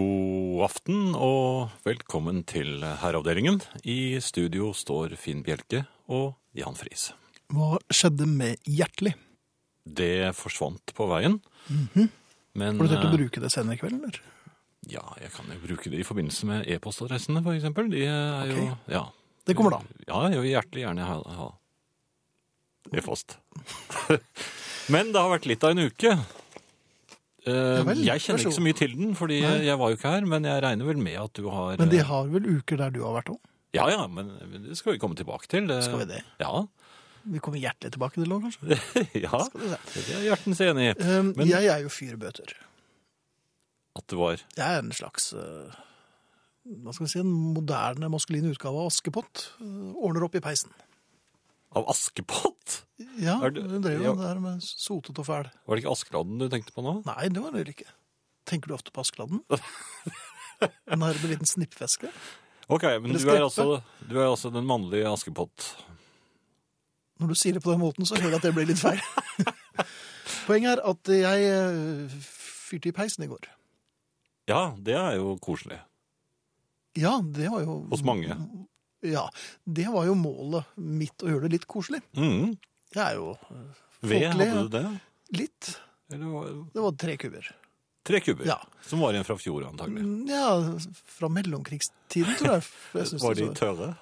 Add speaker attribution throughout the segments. Speaker 1: God aften og velkommen til Herreavdelingen. I studio står Finn Bjelke og Jan Friis.
Speaker 2: Hva skjedde med Hjertelig?
Speaker 1: Det forsvant på veien. Men
Speaker 2: Mhm. Har du tenkt å
Speaker 1: eh,
Speaker 2: bruke det senere i kveld, eller?
Speaker 1: Ja, jeg kan jo bruke det i forbindelse med e-postadressene, for eksempel. De er jo
Speaker 2: Ok.
Speaker 1: Ja,
Speaker 2: Det kommer da.
Speaker 1: ja jeg vil hjertelig gjerne ha, ha e-post. Men det har vært litt av en uke. Eh,
Speaker 2: vel,
Speaker 1: jeg
Speaker 2: vær
Speaker 1: kjenner
Speaker 2: så
Speaker 1: ikke så mye til den, fordi
Speaker 2: Nei.
Speaker 1: jeg var jo ikke her. Men jeg regner vel med at du har
Speaker 2: Men
Speaker 1: eh,
Speaker 2: de har vel uker der du har vært òg?
Speaker 1: Ja, ja, men men det skal vi komme tilbake til.
Speaker 2: Skal vi det?
Speaker 1: Ja.
Speaker 2: Vi kommer hjertelig tilbake til det, kanskje?
Speaker 1: ja.
Speaker 2: Skal vi se.
Speaker 1: Det er hjertens enig i.
Speaker 2: Um,
Speaker 1: Men-
Speaker 2: Jeg er jo fyrbøter.
Speaker 1: At det var
Speaker 2: Jeg er en slags eh, hva skal vi si, en moderne maskulin utgave av Askepott. eh, Ordner opp i peisen.
Speaker 1: av Askepott?
Speaker 2: Ja,
Speaker 1: Er
Speaker 2: du
Speaker 1: det-
Speaker 2: drev
Speaker 1: ja.
Speaker 2: jo det her med sotet og fæl.
Speaker 1: Var det ikke Askeladden du tenkte på nå?
Speaker 2: Nei, det var det ikke. Tenker du ofte på Askeladden? En her med liten snippveske?
Speaker 1: Ok, men
Speaker 2: Eller
Speaker 1: du er,
Speaker 2: Skreppe?
Speaker 1: altså, du er altså den mannlige Askepott.
Speaker 2: Når du sier det på den måten, så hører jeg at det ble litt feil. Poenget er at jeg eh, fyrte i peisen i går.
Speaker 1: Ja, det er jo koselig.
Speaker 2: Ja, det var jo
Speaker 1: Hos mange.
Speaker 2: Ja, det var jo målet mitt, å gjøre det litt koselig.
Speaker 1: Mm.
Speaker 2: Jeg er jo eh,
Speaker 1: Ved
Speaker 2: Folkelig,
Speaker 1: hadde du det?
Speaker 2: litt
Speaker 1: Eller var-
Speaker 2: Det var tre kuber.
Speaker 1: tre kubber?
Speaker 2: Ja. Mm,
Speaker 1: Som var igjen fra fjor, antagelig.
Speaker 2: ja fra mellomkrigstiden, tror jeg. For jeg synes
Speaker 1: Var de
Speaker 2: det så-
Speaker 1: tørre?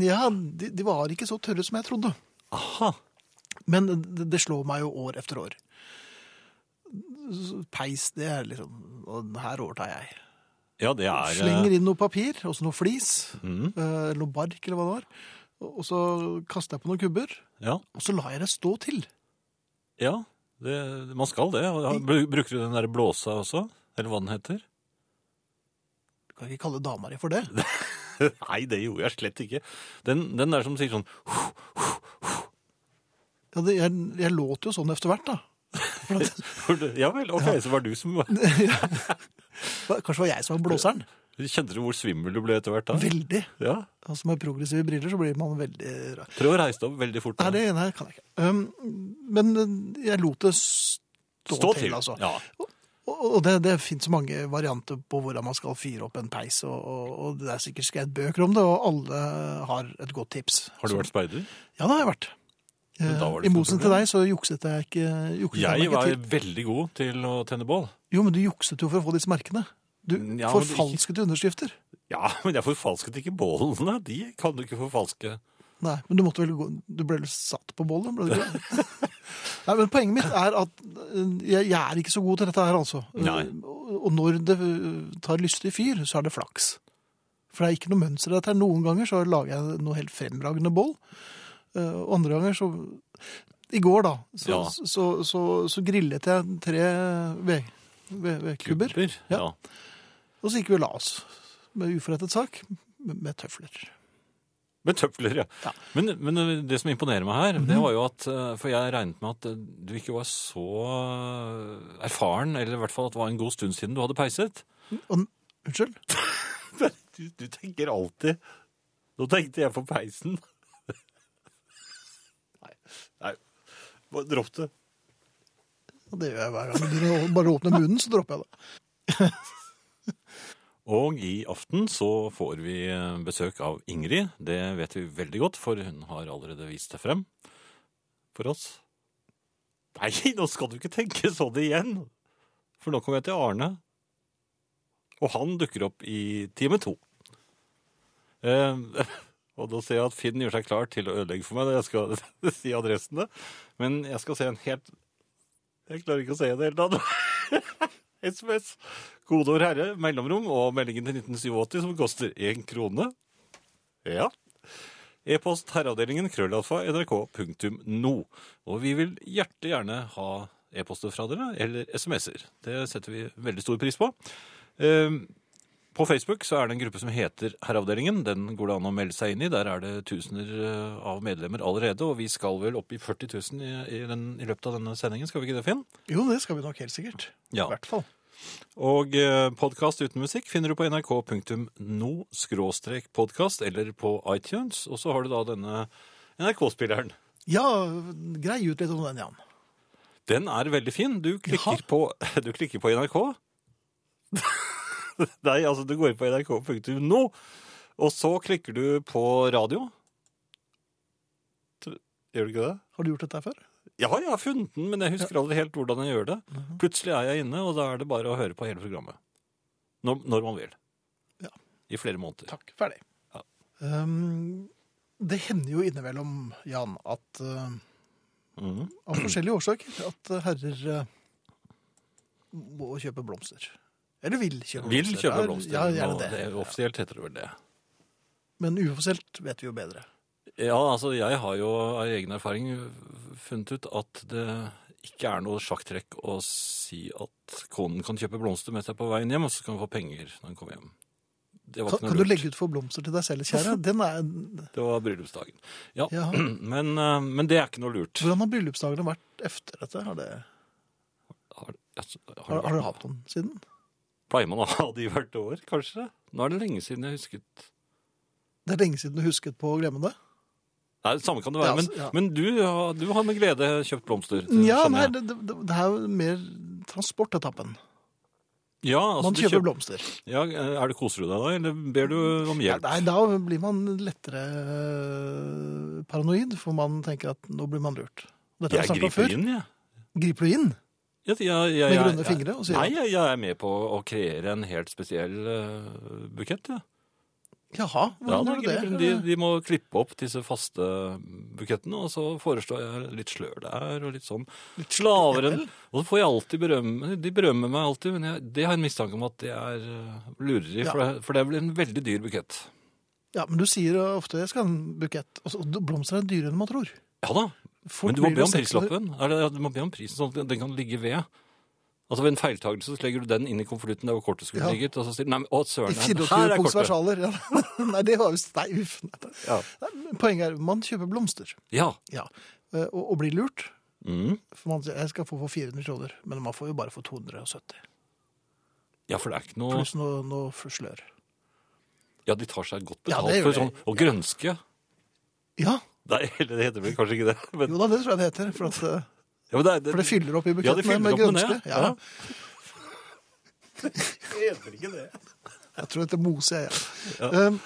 Speaker 2: Ja, de, de var ikke så tørre som jeg trodde.
Speaker 1: Aha!
Speaker 2: Men det, det slår meg jo år etter år. Peis, det er liksom og Her overtar jeg.
Speaker 1: Ja, det er
Speaker 2: Slenger
Speaker 1: eh,
Speaker 2: inn noe papir, og så noe flis,
Speaker 1: Mhm.
Speaker 2: eh, eller noe bark, eller hva det var. Og og så kaster jeg på noen kubber,
Speaker 1: Ja.
Speaker 2: og så lar jeg det stå til.
Speaker 1: ja det, man skal det. Ja, bru- Bruker du den der blåsa også? Eller hva den heter?
Speaker 2: Du kan ikke kalle dama di for det.
Speaker 1: Nei, det gjorde jeg slett ikke. Den, den der som sier sånn
Speaker 2: Ja, det jeg, jeg låter jo sånn etter hvert, da. For at-
Speaker 1: Ja vel, ok, så var du som
Speaker 2: Kanskje det var jeg som var blåseren.
Speaker 1: Kjente du hvor svimmel du ble etter hvert da?
Speaker 2: Veldig.
Speaker 1: Ja.
Speaker 2: Altså med progressive briller så blir man veldig rar.
Speaker 1: Prøv å reise deg opp veldig fort.
Speaker 2: Nei,
Speaker 1: nå.
Speaker 2: det nei, kan jeg ikke. Um, men eh, jeg lot det stå,
Speaker 1: Stå
Speaker 2: til, altså.
Speaker 1: Ja.
Speaker 2: Og og det, det finnes mange varianter på hvordan man skal fyre opp en peis, og, og, og det er sikkert skrevet bøker om det, og alle har et godt tips.
Speaker 1: Har du vært speider?
Speaker 2: Ja, det har jeg vært.
Speaker 1: Men da var det
Speaker 2: Eh,
Speaker 1: ikke
Speaker 2: I
Speaker 1: noe
Speaker 2: motsetning til deg så jukset jeg ikke, jukset jeg
Speaker 1: Jeg
Speaker 2: meg ikke
Speaker 1: var
Speaker 2: til.
Speaker 1: veldig god til å tenne bål.
Speaker 2: Jo, men du jukset jo for å få disse merkene. Du
Speaker 1: Ja, men det-
Speaker 2: forfalsket underskrifter.
Speaker 1: Ja, men jeg forfalsket ikke bålene. De kan du ikke forfalske.
Speaker 2: Nei, men du måtte vel gå Du ble vel satt på bollen, ble du ikke? det? Nei, men poenget mitt er at eh, jeg, jeg er ikke så god til dette her, altså.
Speaker 1: Nei.
Speaker 2: Eh, Og, og når det eh, tar lystig fyr, så er det flaks. For det er ikke noe mønster i dette her. Noen ganger så lager jeg noe helt fremragende boll. eh, Og andre ganger så I går, da, så,
Speaker 1: Ja.
Speaker 2: så, så, så, grillet jeg tre ved- ved- vedkubber.
Speaker 1: Ja.
Speaker 2: Og så gikk vi og la oss med uforrettet sak med med tøfler.
Speaker 1: Med tøfler, ja.
Speaker 2: Ja. Mhm.
Speaker 1: Men, men eh, det som imponerer meg her, det var jo at eh, For jeg regnet med at eh, du ikke var så eh, erfaren, eller i hvert fall at det var en god stund siden du hadde peiset.
Speaker 2: Og, unnskyld?
Speaker 1: Du, du tenker alltid Nå tenkte jeg på peisen. Nei. Nei. Dropp det.
Speaker 2: Og det gjør jeg hver gang. Når jeg bare åpner munnen, så dropper jeg det.
Speaker 1: Og i aften så får vi eh, besøk av Ingrid. Det vet vi veldig godt, for hun har allerede vist det frem for oss. Nei, nå skal du ikke tenke sånn igjen! For nå kommer jeg til Arne. Og han dukker opp i time to. Eh, og da ser jeg at Finn gjør seg klar til å ødelegge for meg når jeg skal si adressene. Men jeg skal se en helt Jeg klarer ikke å se det i det hele tatt. SMS. Kodeord herre, mellomrom og meldingen til 1987 som koster én krone. Ja. E-post herreavdelingen krøllalfa nrk.no. Og vi vil hjerte gjerne ha e-poster fra dere, eller SMS-er. Det setter vi veldig stor pris på. Ehm, På Facebook så er det en gruppe som heter Herreavdelingen. Den går det an å melde seg inn i. Der er det tusener eh, av medlemmer allerede, og vi skal vel opp i 40 000 i, i, den, i løpet av denne sendingen, skal vi ikke det, Finn?
Speaker 2: Jo, det skal vi nok helt sikkert.
Speaker 1: Ja.
Speaker 2: I hvert fall.
Speaker 1: Og podkast uten musikk finner du på nrk.no-podkast eller på iTunes. Og så har du da denne NRK-spilleren.
Speaker 2: Ja, grei ut litt om den, Jan.
Speaker 1: Den er veldig fin. Du klikker,
Speaker 2: Jaha.
Speaker 1: på, du klikker på NRK. Nei, altså du går inn på nrk.no, og så klikker du på radio. Tr- Gjør du ikke det?
Speaker 2: Har du gjort dette her før?
Speaker 1: Ja, jeg har funnet den, men jeg husker aldri helt hvordan jeg gjør det.
Speaker 2: Mhm.
Speaker 1: Plutselig er jeg inne, og da er det bare å høre på hele programmet. Når, når man vil.
Speaker 2: Ja.
Speaker 1: I flere måneder.
Speaker 2: Takk. Ferdig.
Speaker 1: Ja.
Speaker 2: Um, det hender jo innimellom, Jan, at uh,
Speaker 1: Mhm.
Speaker 2: av forskjellige årsaker at herrer eh, må kjøpe blomster. Eller vil kjøpe
Speaker 1: Vil
Speaker 2: blomster.
Speaker 1: kjøpe
Speaker 2: Er-
Speaker 1: blomster.
Speaker 2: Ja, gjerne
Speaker 1: nå.
Speaker 2: det.
Speaker 1: er offisielt heter det vel det.
Speaker 2: Men uoffisielt vet vi jo bedre.
Speaker 1: Ja, altså jeg har jo av egen erfaring funnet ut at det ikke er noe sjakktrekk å si at konen kan kjøpe blomster mens jeg er på veien hjem, og så kan hun få penger når hun kommer hjem. Det var ikke
Speaker 2: Kan, kan
Speaker 1: noe
Speaker 2: du
Speaker 1: lurt.
Speaker 2: legge ut for blomster til deg selv, kjære? Den er,
Speaker 1: Det var bryllupsdagen. Ja,
Speaker 2: ja.
Speaker 1: men, eh, men det er ikke noe lurt.
Speaker 2: Hvordan har bryllupsdagene vært efter dette? Har, det,
Speaker 1: Har, altså, har,
Speaker 2: har,
Speaker 1: det
Speaker 2: har du
Speaker 1: vært-
Speaker 2: hatt noen siden?
Speaker 1: Pleier man å ha de hvert år, kanskje? Nå er det lenge siden jeg husket.
Speaker 2: Det er lenge siden du husket på å glemme det.
Speaker 1: Nei, det samme kan det være,
Speaker 2: Ja,
Speaker 1: men,
Speaker 2: altså, ja.
Speaker 1: men du, har- du har med glede kjøpt blomster. det
Speaker 2: Ja,
Speaker 1: skjønner
Speaker 2: nei,
Speaker 1: jeg.
Speaker 2: det, det, det er jo mer transportetappen.
Speaker 1: ja altså,
Speaker 2: Man
Speaker 1: du
Speaker 2: kjøper
Speaker 1: kjøp-
Speaker 2: blomster.
Speaker 1: Ja, eh, er det koser du deg da, eller ber du om hjelp?
Speaker 2: Nei, da blir man lettere eh, paranoid, for man tenker at nå blir man lurt. Dette har
Speaker 1: Jeg
Speaker 2: vi snakket om
Speaker 1: griper
Speaker 2: før.
Speaker 1: inn, jeg.
Speaker 2: Griper du inn?
Speaker 1: Jeg, jeg, jeg,
Speaker 2: Med
Speaker 1: jeg-
Speaker 2: grønne
Speaker 1: jeg-
Speaker 2: fingre og sier
Speaker 1: Nei,
Speaker 2: at-
Speaker 1: jeg, jeg er med på å kreere en helt spesiell eh, bukett. Ja.
Speaker 2: Jaha,
Speaker 1: Ja,
Speaker 2: hvordan
Speaker 1: da
Speaker 2: gjør
Speaker 1: griper
Speaker 2: du
Speaker 1: hun.
Speaker 2: det?
Speaker 1: de, de må klippe opp disse faste bukettene, og så foreslår jeg litt slør der og litt sånn. Litt slaveren. Og så får jeg alltid berømme De berømmer meg alltid, men jeg, det har jeg en mistanke om at det er eh, lureri, for, det, for det blir en veldig dyr bukett.
Speaker 2: Ja, men du sier ofte jeg skal ha en bukett. Og så- blomster er dyrere enn man tror.
Speaker 1: Ja da,
Speaker 2: Fort
Speaker 1: men du må
Speaker 2: blir
Speaker 1: be
Speaker 2: det
Speaker 1: om
Speaker 2: 600
Speaker 1: prislappen. Eller, ja, du må be om prisen sånn at den kan ligge ved. Altså Ved en feiltagelse så legger du den inn i konvolutten der hvor kortet skulle
Speaker 2: Ja.
Speaker 1: ligget. Og så sier du, nei, men, å, søren,
Speaker 2: I
Speaker 1: her- her
Speaker 2: 24
Speaker 1: er
Speaker 2: punkts
Speaker 1: kortet.
Speaker 2: versaler. Ja. Nei, det var jo Nei, uff. Nei, det-
Speaker 1: Ja.
Speaker 2: Nei, Poenget er man kjøper blomster
Speaker 1: ja.
Speaker 2: Ja, eh, og, og blir lurt.
Speaker 1: Mm.
Speaker 2: For man sier jeg skal få for 400 kroner, men man får jo bare for 270.
Speaker 1: ja, for det er ikke noe
Speaker 2: Pluss noe, noe slør.
Speaker 1: Ja, de tar seg godt
Speaker 2: Ja,
Speaker 1: betalt
Speaker 2: det gjør
Speaker 1: for
Speaker 2: de.
Speaker 1: sånn. Og grønske.
Speaker 2: Ja,
Speaker 1: Nei, eller det heter vel kanskje ikke det. Men,
Speaker 2: jo da, det tror jeg det heter. For, at, eh,
Speaker 1: ja, men det, er-
Speaker 2: for det fyller opp i
Speaker 1: Ja, det
Speaker 2: buketten
Speaker 1: fyller
Speaker 2: med
Speaker 1: opp med det.
Speaker 2: grønske.
Speaker 1: Ja.
Speaker 2: Ja, jeg tror det heter mose, jeg. Ja. Um,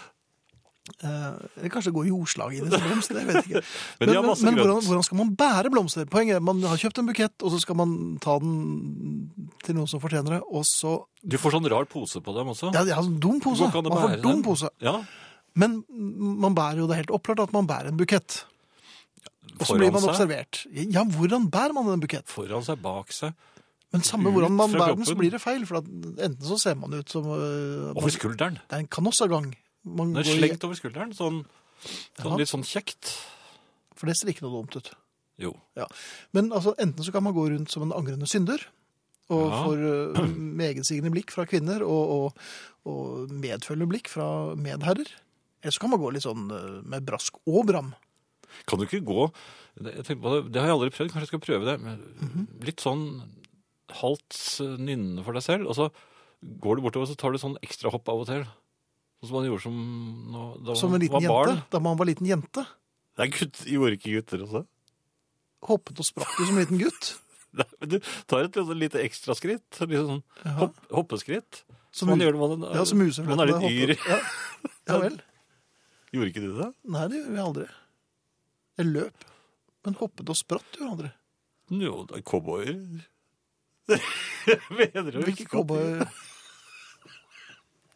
Speaker 2: eh, eller kanskje gå jordslag i det som blomster, jeg vet ikke.
Speaker 1: Men de har masse grønt.
Speaker 2: hvordan, hvordan skal man bære blomster? Poenget er man har kjøpt en bukett, og så skal man ta den til noen som fortjener det, og så
Speaker 1: Du får sånn rar pose på dem også.
Speaker 2: Ja, det er en dum pose.
Speaker 1: Hvordan kan du
Speaker 2: Man får
Speaker 1: bære
Speaker 2: dum
Speaker 1: den?
Speaker 2: pose.
Speaker 1: Ja,
Speaker 2: Men man bærer jo det er helt opplagt at man bærer en bukett. Og så blir man
Speaker 1: seg,
Speaker 2: observert. Ja, hvordan bærer man en bukett?
Speaker 1: foran seg, bak seg.
Speaker 2: Men samme
Speaker 1: Ut
Speaker 2: hvordan man
Speaker 1: fra
Speaker 2: bærer den, så
Speaker 1: kroppen.
Speaker 2: blir det feil. For at enten så ser man ut som øh,
Speaker 1: Over skulderen.
Speaker 2: Det er en kanossagang. Man
Speaker 1: Den er
Speaker 2: går i-
Speaker 1: slengt over skulderen. Sånn,
Speaker 2: Ja.
Speaker 1: sånn litt sånn kjekt.
Speaker 2: For det ser ikke noe dumt ut.
Speaker 1: Jo.
Speaker 2: Ja. Men altså, enten så kan man gå rundt som en angrende synder, og
Speaker 1: Ja.
Speaker 2: får uh, megetsigende blikk fra kvinner, og, og, og medfølgende blikk fra medherrer. Eller så kan man gå litt sånn eh, med brask og bram.
Speaker 1: Kan du ikke gå det- jeg tenker på det, det har jeg aldri prøvd, kanskje jeg skal prøve det. Men
Speaker 2: Mhm.
Speaker 1: Litt sånn halvt eh, nynnende for deg selv, og så går du bortover og så tar du sånn ekstra hopp av og til. Sånn som man gjorde som nå- da
Speaker 2: Som en
Speaker 1: man
Speaker 2: liten
Speaker 1: var barn.
Speaker 2: jente. Da man var liten jente.
Speaker 1: Nei, gutt, gjorde ikke gutter også?
Speaker 2: Hoppet og sprakk jo som en liten gutt.
Speaker 1: Nei, men du tar et lite- lite ekstra skritt, så litt sånn hopp, hoppeskritt. Som
Speaker 2: Som
Speaker 1: man
Speaker 2: mus-
Speaker 1: gjør når man,
Speaker 2: Ja, som museflettene
Speaker 1: man er litt yr.
Speaker 2: hoppet. Ja. ja vel.
Speaker 1: Gjorde ikke du det?
Speaker 2: Nei, det gjorde jeg aldri. Jeg løp. Men hoppet og spratt gjorde jeg aldri.
Speaker 1: Jo, det er cowboyer. Mener du
Speaker 2: Hvilke cowboy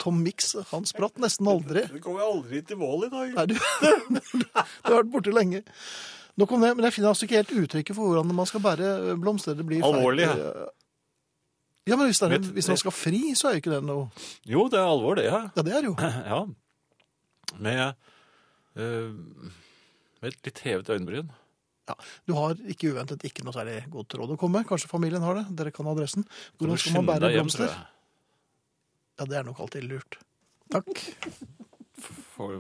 Speaker 2: Tom Mix, han spratt nesten aldri.
Speaker 1: Du kommer aldri til mål i dag.
Speaker 2: Nei, du, du har vært borte lenge. Nok om det, men jeg finner altså ikke helt uttrykket for hvordan man skal bære blomster. Det blir feil.
Speaker 1: Alvorlig, ja.
Speaker 2: Ja, men hvis, det er,
Speaker 1: Vet-
Speaker 2: hvis man skal fri, så er jo ikke det noe
Speaker 1: Jo, det er alvor, det. Ja.
Speaker 2: Ja, det er jo.
Speaker 1: ja. Med, eh, med et litt hevet øyenbryn.
Speaker 2: Ja. Du har ikke uventet ikke noe særlig godt råd å komme. Kanskje familien har det. Dere kan adressen.
Speaker 1: Du må
Speaker 2: Hvordan skal man
Speaker 1: skynde
Speaker 2: bære
Speaker 1: deg hjem, tror
Speaker 2: blomster?
Speaker 1: jeg.
Speaker 2: Ja, det er nok alltid lurt. Takk.
Speaker 1: For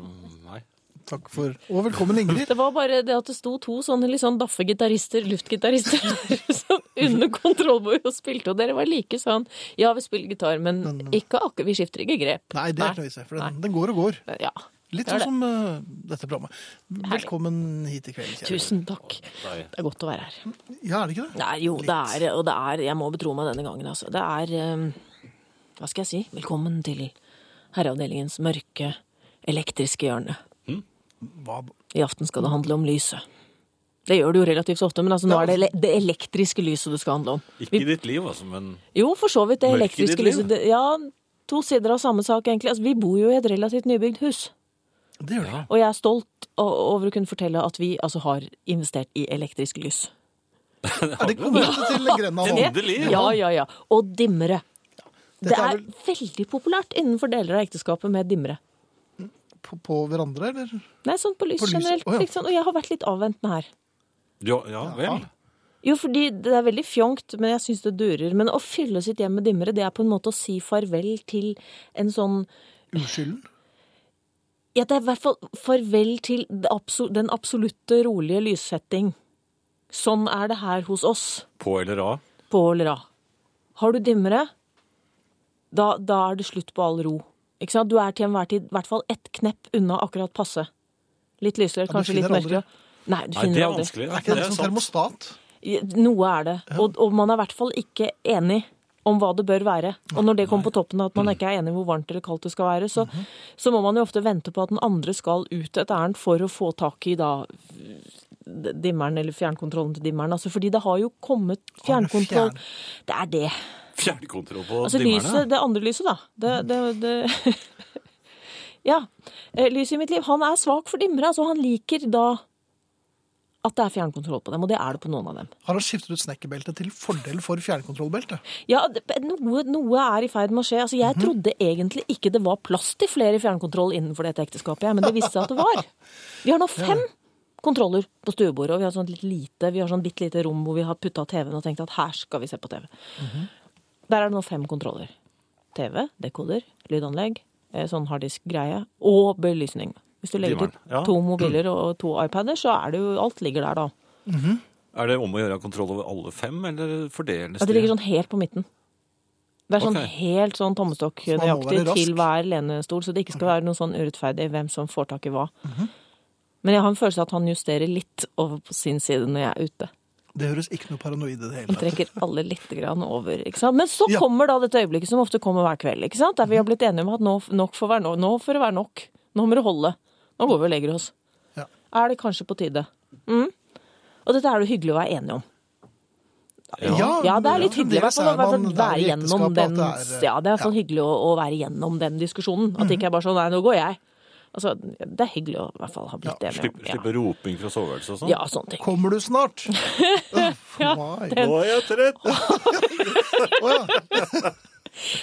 Speaker 1: meg.
Speaker 2: Takk for Og velkommen, Ingrid.
Speaker 3: Det var bare det at det sto to sånne litt sånn daffe gitarister, luftgitarister, som under kontrollbord og spilte, og dere var like sånn Ja, vi spiller gitar, men ikke akkurat Vi skifter ikke grep.
Speaker 2: Nei, det er ikke noe vits i, for den, den går og går.
Speaker 3: Ja.
Speaker 2: Litt
Speaker 3: Det er
Speaker 2: sånn
Speaker 3: det.
Speaker 2: som eh, dette programmet. Velkommen hit i kveld, kjære.
Speaker 3: Tusen takk.
Speaker 1: Nei.
Speaker 3: Det er godt å være her.
Speaker 2: Ja, er det ikke det?
Speaker 3: Nei, jo, det er Og det er Jeg må betro meg denne gangen, altså. Det er eh, hva skal jeg si, velkommen til herreavdelingens mørke, elektriske hjørne.
Speaker 2: Hva?
Speaker 3: I aften skal det handle om lyset. Det gjør det jo relativt ofte, men altså, nå
Speaker 2: Ja.
Speaker 3: er det ele- det elektriske lyset det skal handle om.
Speaker 1: Ikke i ditt liv, altså, men
Speaker 3: Jo, for så vidt. Det
Speaker 1: Mørket i
Speaker 3: elektriske
Speaker 1: ditt liv?
Speaker 3: lyset. det- Ja, to sider av samme sak, egentlig. Altså, vi bor jo i et relativt nybygd hus.
Speaker 2: Det gjør det.
Speaker 3: Og jeg er stolt o- over å kunne fortelle at vi altså, har investert i elektrisk lys.
Speaker 2: Er det kvote til Grenland?
Speaker 1: Ja. Endelig!
Speaker 3: Ja, ja, ja. Og dimmere. Det
Speaker 2: Dette er
Speaker 3: er veldig populært innenfor deler av ekteskapet med dimmere.
Speaker 2: På, på hverandre, eller?
Speaker 3: Nei, sånn på lys
Speaker 2: På lyset,
Speaker 3: generelt.
Speaker 2: å ja.
Speaker 3: liksom. Og jeg har vært litt avventende her.
Speaker 1: Ja, ja vel.
Speaker 3: Jo, fordi det er veldig fjongt, men jeg syns det durer. Men å fylle sitt hjem med dimmere, det er på en måte å si farvel til en sånn
Speaker 2: Uskylden?
Speaker 3: Ja, det er i hvert fall farvel til det abso- den absolutte rolige lyssetting. Sånn er det her hos oss
Speaker 1: På eller av.
Speaker 3: på Ålra. Har du dimmere, da, da er det slutt på all ro. Ikke sant? Du er til enhver tid i hvert fall ett knepp unna akkurat passe. Litt lysere,
Speaker 2: du
Speaker 3: kanskje litt
Speaker 2: finner aldri.
Speaker 3: mørkere. Nei, du
Speaker 1: Nei,
Speaker 3: finner
Speaker 1: det er
Speaker 3: aldri.
Speaker 1: vanskelig.
Speaker 2: Er ikke det,
Speaker 1: er
Speaker 2: sånn
Speaker 1: sant.
Speaker 2: termostat?
Speaker 3: Noe er det. Og, og man er i hvert fall ikke enig om hva det bør være. Og når det kommer på toppen av at man ikke er enig i hvor varmt eller kaldt det skal være, så, så må man jo ofte vente på at den andre skal ut et ærend for å få tak i da dimmeren eller fjernkontrollen til dimmeren. Altså, fordi det har jo kommet
Speaker 2: Har det
Speaker 3: fjernkontroll.
Speaker 2: fjern-
Speaker 3: Det er det.
Speaker 1: Fjernkontroll på
Speaker 3: Altså
Speaker 1: dimmerne.
Speaker 3: lyset, det andre lyset, da. Det, det, det Ja. Eh, Lyset i mitt liv. Han er svak for dimmere. Altså, han liker da at det er fjernkontroll på dem, og det er det på noen av dem.
Speaker 2: Har han skiftet ut snekkerbelte til fordel for fjernkontrollbelte?
Speaker 3: Ja, det- noe, noe er i ferd med å skje. Altså, jeg trodde egentlig ikke det var plass til flere fjernkontroll innenfor dette ekteskapet, jeg, men det viste seg at det var. Vi har nå fem kontroller på stuebordet, og vi har sånn litt lite, vi har sånn bitte lite rom hvor vi har putta TV-en og tenkt at her skal vi se på TV. Der er det nå fem kontroller. TV, dekoder, lydanlegg, eh, sånn harddisk-greie og belysning. Hvis du legger til
Speaker 1: Dimmeren, ja.
Speaker 3: to mobiler og to iPader, så er det jo alt ligger der da.
Speaker 1: Er det om å gjøre å ha kontroll over alle fem, eller fordeles
Speaker 3: Ja, det ligger sånn helt på midten. Det er sånn
Speaker 1: Ok.
Speaker 3: helt sånn tommestokk
Speaker 2: Så man må
Speaker 3: nøyaktig
Speaker 2: være rask.
Speaker 3: til hver lenestol, så det ikke skal være noe sånn urettferdig hvem som får tak i hva.
Speaker 2: Mhm.
Speaker 3: Men jeg har en følelse av at han justerer litt over på sin side når jeg er ute.
Speaker 2: Det høres ikke noe paranoid i det hele
Speaker 3: Han
Speaker 2: tatt.
Speaker 3: trekker alle litt grann over, ikke sant. Men så
Speaker 2: Ja.
Speaker 3: kommer da dette øyeblikket som ofte kommer hver kveld, ikke sant. Der vi har blitt enige om at nå, nok får være no- nå får det være nok. Nå må det holde. Nå går vi og legger oss.
Speaker 2: Ja.
Speaker 3: Er det kanskje på tide? Mm. Og dette er det hyggelig å være enige om. sånn- Ja, det er litt hyggelig i hvert fall å være,
Speaker 2: fremdeles er man der
Speaker 3: være
Speaker 2: i
Speaker 3: gjennom
Speaker 2: ekteskapet
Speaker 3: den
Speaker 2: at det er, Mhm.
Speaker 3: Ja, det er sånn hyggelig å, å være gjennom den diskusjonen. At det ikke er bare sånn nei, nå går jeg. Altså, det er hyggelig å i hvert fall ha blitt enig
Speaker 1: Slipp,
Speaker 3: om.
Speaker 1: Slippe roping fra soveværelset og sånn?
Speaker 3: Ja. ja, sånne ting.
Speaker 2: Kommer du snart? ja, det...
Speaker 1: Nå er jeg trett!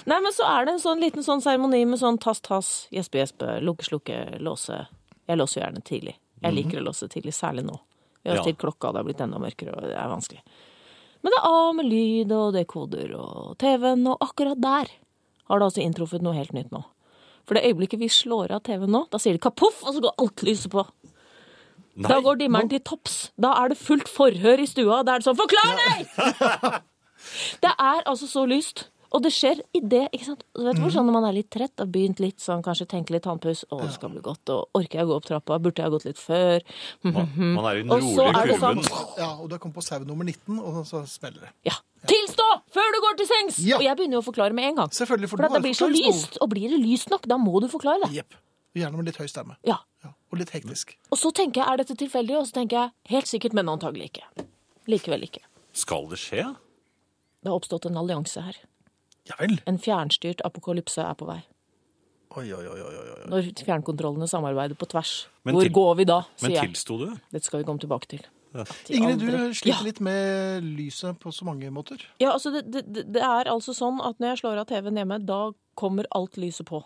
Speaker 3: Nei, men så er det en sånn liten sånn seremoni med sånn tass-tass, gjespe-gjespe, lukke-slukke, låse. Jeg låser jo gjerne tidlig. Jeg
Speaker 2: Mhm.
Speaker 3: liker å låse tidlig, særlig nå. Vi har
Speaker 1: Ja.
Speaker 3: stilt klokka, det har blitt enda mørkere, og det er vanskelig. Men det er av med lyd og dekoder og TV-en, og akkurat der har det altså inntruffet noe helt nytt nå. For det øyeblikket vi slår av TV-en nå, da sier det kapoff, og så går alt lyset på.
Speaker 1: Nei,
Speaker 3: Da går dimmeren til topps. Da er det fullt forhør i stua. Da er det sånn 'Forklar deg!' det er altså så lyst. Og det skjer i det, ikke sant? Du vet hvor sånn Når man er litt trett, har begynt litt sånn, kanskje tenker litt tannpuss 'Å, det skal bli godt.' Og 'Orker jeg å gå opp trappa? Burde jeg ha gått litt før?' Mhm.
Speaker 1: man, man er i den
Speaker 3: Og så
Speaker 1: rolige
Speaker 3: er det
Speaker 1: kurven.
Speaker 3: sånn-
Speaker 2: ja, og du har kommet på sau nummer 19, og så smeller det.
Speaker 3: Ja. Tilstå før du går til sengs!
Speaker 2: Ja.
Speaker 3: Og jeg begynner jo å forklare med en gang.
Speaker 2: Selvfølgelig, for
Speaker 3: For
Speaker 2: du
Speaker 3: at det
Speaker 2: har
Speaker 3: blir så
Speaker 2: forklaringsbehov.
Speaker 3: lyst. Og blir det lyst nok, da må du forklare det.
Speaker 2: Jepp. Gjerne med litt høy stemme.
Speaker 3: Ja.
Speaker 2: Ja, og litt hektisk.
Speaker 3: Og så tenker jeg 'Er dette tilfeldig?' Og så tenker jeg 'Helt sikkert, men antagelig ikke'. Likevel ikke.
Speaker 1: Skal det skje?
Speaker 3: Det har oppstått en allianse her.
Speaker 2: Ja vel.
Speaker 3: En fjernstyrt apokalypse er på vei.
Speaker 2: Oi, oi, oi, oi, oi.
Speaker 3: Når fjernkontrollene samarbeider på tvers.
Speaker 1: Men
Speaker 3: Hvor
Speaker 1: til-
Speaker 3: går vi da, sier
Speaker 1: Men
Speaker 3: jeg.
Speaker 1: tilsto du?
Speaker 3: Dette skal vi komme tilbake til. Til
Speaker 2: Ingrid, du
Speaker 3: andre.
Speaker 2: sliter
Speaker 3: ja.
Speaker 2: litt med lyset på så mange måter.
Speaker 3: Ja, altså det, det, det- det er altså sånn at når jeg slår av TV-en hjemme, da kommer alt lyset på.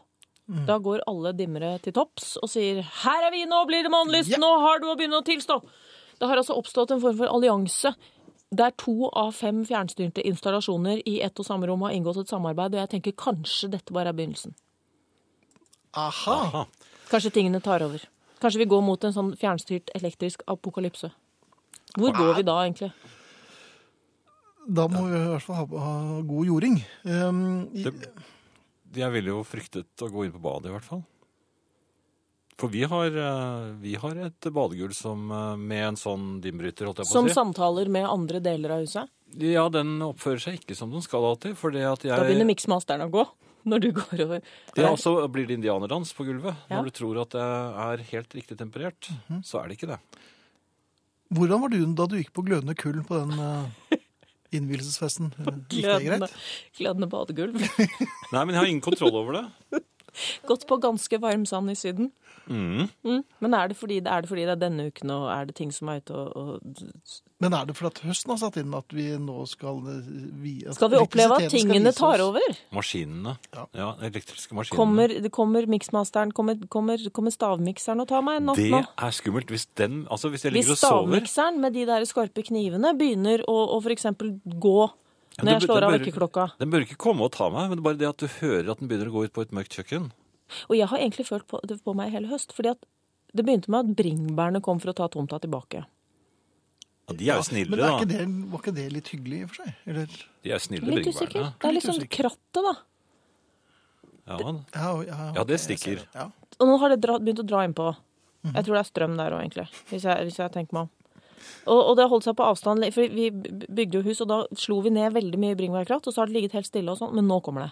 Speaker 1: Mm.
Speaker 3: Da går alle dimmere til topps og sier 'her er vi, nå blir det månelyst',
Speaker 2: Ja.
Speaker 3: nå har du å begynne å tilstå'. Det har altså oppstått en form for allianse der to av fem fjernstyrte installasjoner i ett og samme rom har inngått et samarbeid, og jeg tenker kanskje dette bare er begynnelsen.
Speaker 2: Aha!
Speaker 3: Kanskje tingene tar over. Kanskje vi går mot en sånn fjernstyrt elektrisk apokalypse. Hvor går vi da, egentlig?
Speaker 2: Da må vi i hvert fall ha, ha god jording. Um, i-
Speaker 1: Det, jeg ville jo fryktet å gå inn på badet, i hvert fall. For vi har, eh, vi har et badegulv som, eh, med en sånn dimbryter, holdt jeg på
Speaker 3: Som
Speaker 1: å si.
Speaker 3: samtaler med andre deler av huset?
Speaker 1: Ja, den oppfører seg ikke som den skal alltid. Fordi at jeg
Speaker 3: Da begynner miksmasteren å gå. når du går over.
Speaker 1: Ja, og så blir det indianerdans på gulvet.
Speaker 3: Ja.
Speaker 1: Når
Speaker 3: Mhm.
Speaker 1: du tror at det er helt riktig temperert, så er det ikke det.
Speaker 2: Hvordan var du da du gikk på glødende kull på den eh, innvielsesfesten? Gikk det
Speaker 3: Glødende,
Speaker 2: greit?
Speaker 3: glødende badegulv.
Speaker 1: Nei, men jeg har ingen kontroll over det.
Speaker 3: Gått på ganske varm sand i Syden.
Speaker 1: Mm.
Speaker 3: Mm. Men er det, fordi, er det fordi det er denne uken, og er det ting som er ute og, og
Speaker 2: Men er det fordi at høsten har satt inn at vi nå skal eh, vi,
Speaker 1: Altså,
Speaker 2: at
Speaker 3: Skal vi oppleve at
Speaker 2: elektrisiteten skal
Speaker 3: tingene
Speaker 2: vise
Speaker 3: tar
Speaker 2: oss-
Speaker 3: over?
Speaker 1: Maskinene.
Speaker 2: Ja.
Speaker 1: Ja, elektriske maskinene.
Speaker 3: Kommer, det kommer miksmasteren, kommer, kommer, kommer stavmikseren og tar meg en natt
Speaker 1: det
Speaker 3: nå?
Speaker 1: er skummelt. Hvis, den, altså hvis jeg
Speaker 3: Hvis
Speaker 1: ligger og sover
Speaker 3: stavmikseren med de der skarpe knivene begynner å, å for eksempel gå
Speaker 1: Ja,
Speaker 3: når
Speaker 1: det-
Speaker 3: jeg slår
Speaker 1: det
Speaker 3: av
Speaker 1: bør-
Speaker 3: vekkerklokka
Speaker 1: Den bør ikke komme og ta meg, men det er bare det at du hører at den begynner å gå ut på et mørkt kjøkken.
Speaker 3: Og jeg har egentlig følt på det på meg hele høst, fordi at det begynte med at bringebærene kom for å ta tomta tilbake.
Speaker 1: Ja, de er jo
Speaker 2: Men
Speaker 1: snille,
Speaker 2: er ikke
Speaker 1: da.
Speaker 2: det, var ikke det litt hyggelig i og for seg? Eller,
Speaker 1: De er jo snille
Speaker 3: Litt
Speaker 1: bringebærene.
Speaker 3: usikker. Det er
Speaker 2: Litt
Speaker 3: liksom
Speaker 2: usikker.
Speaker 3: krattet, da.
Speaker 1: Ja, men-
Speaker 2: ja, ja,
Speaker 1: Ja, det
Speaker 2: ok, jeg ser
Speaker 1: stikker.
Speaker 2: Ja.
Speaker 3: Og nå har det dra, begynt å dra innpå. Jeg tror det er strøm der òg, egentlig. Hvis jeg, hvis jeg tenker meg om. Og, og det har holdt seg på avstand, for vi bygde jo hus, og da slo vi ned veldig mye bringebærkratt, og så har det ligget helt stille og sånn, men nå kommer det.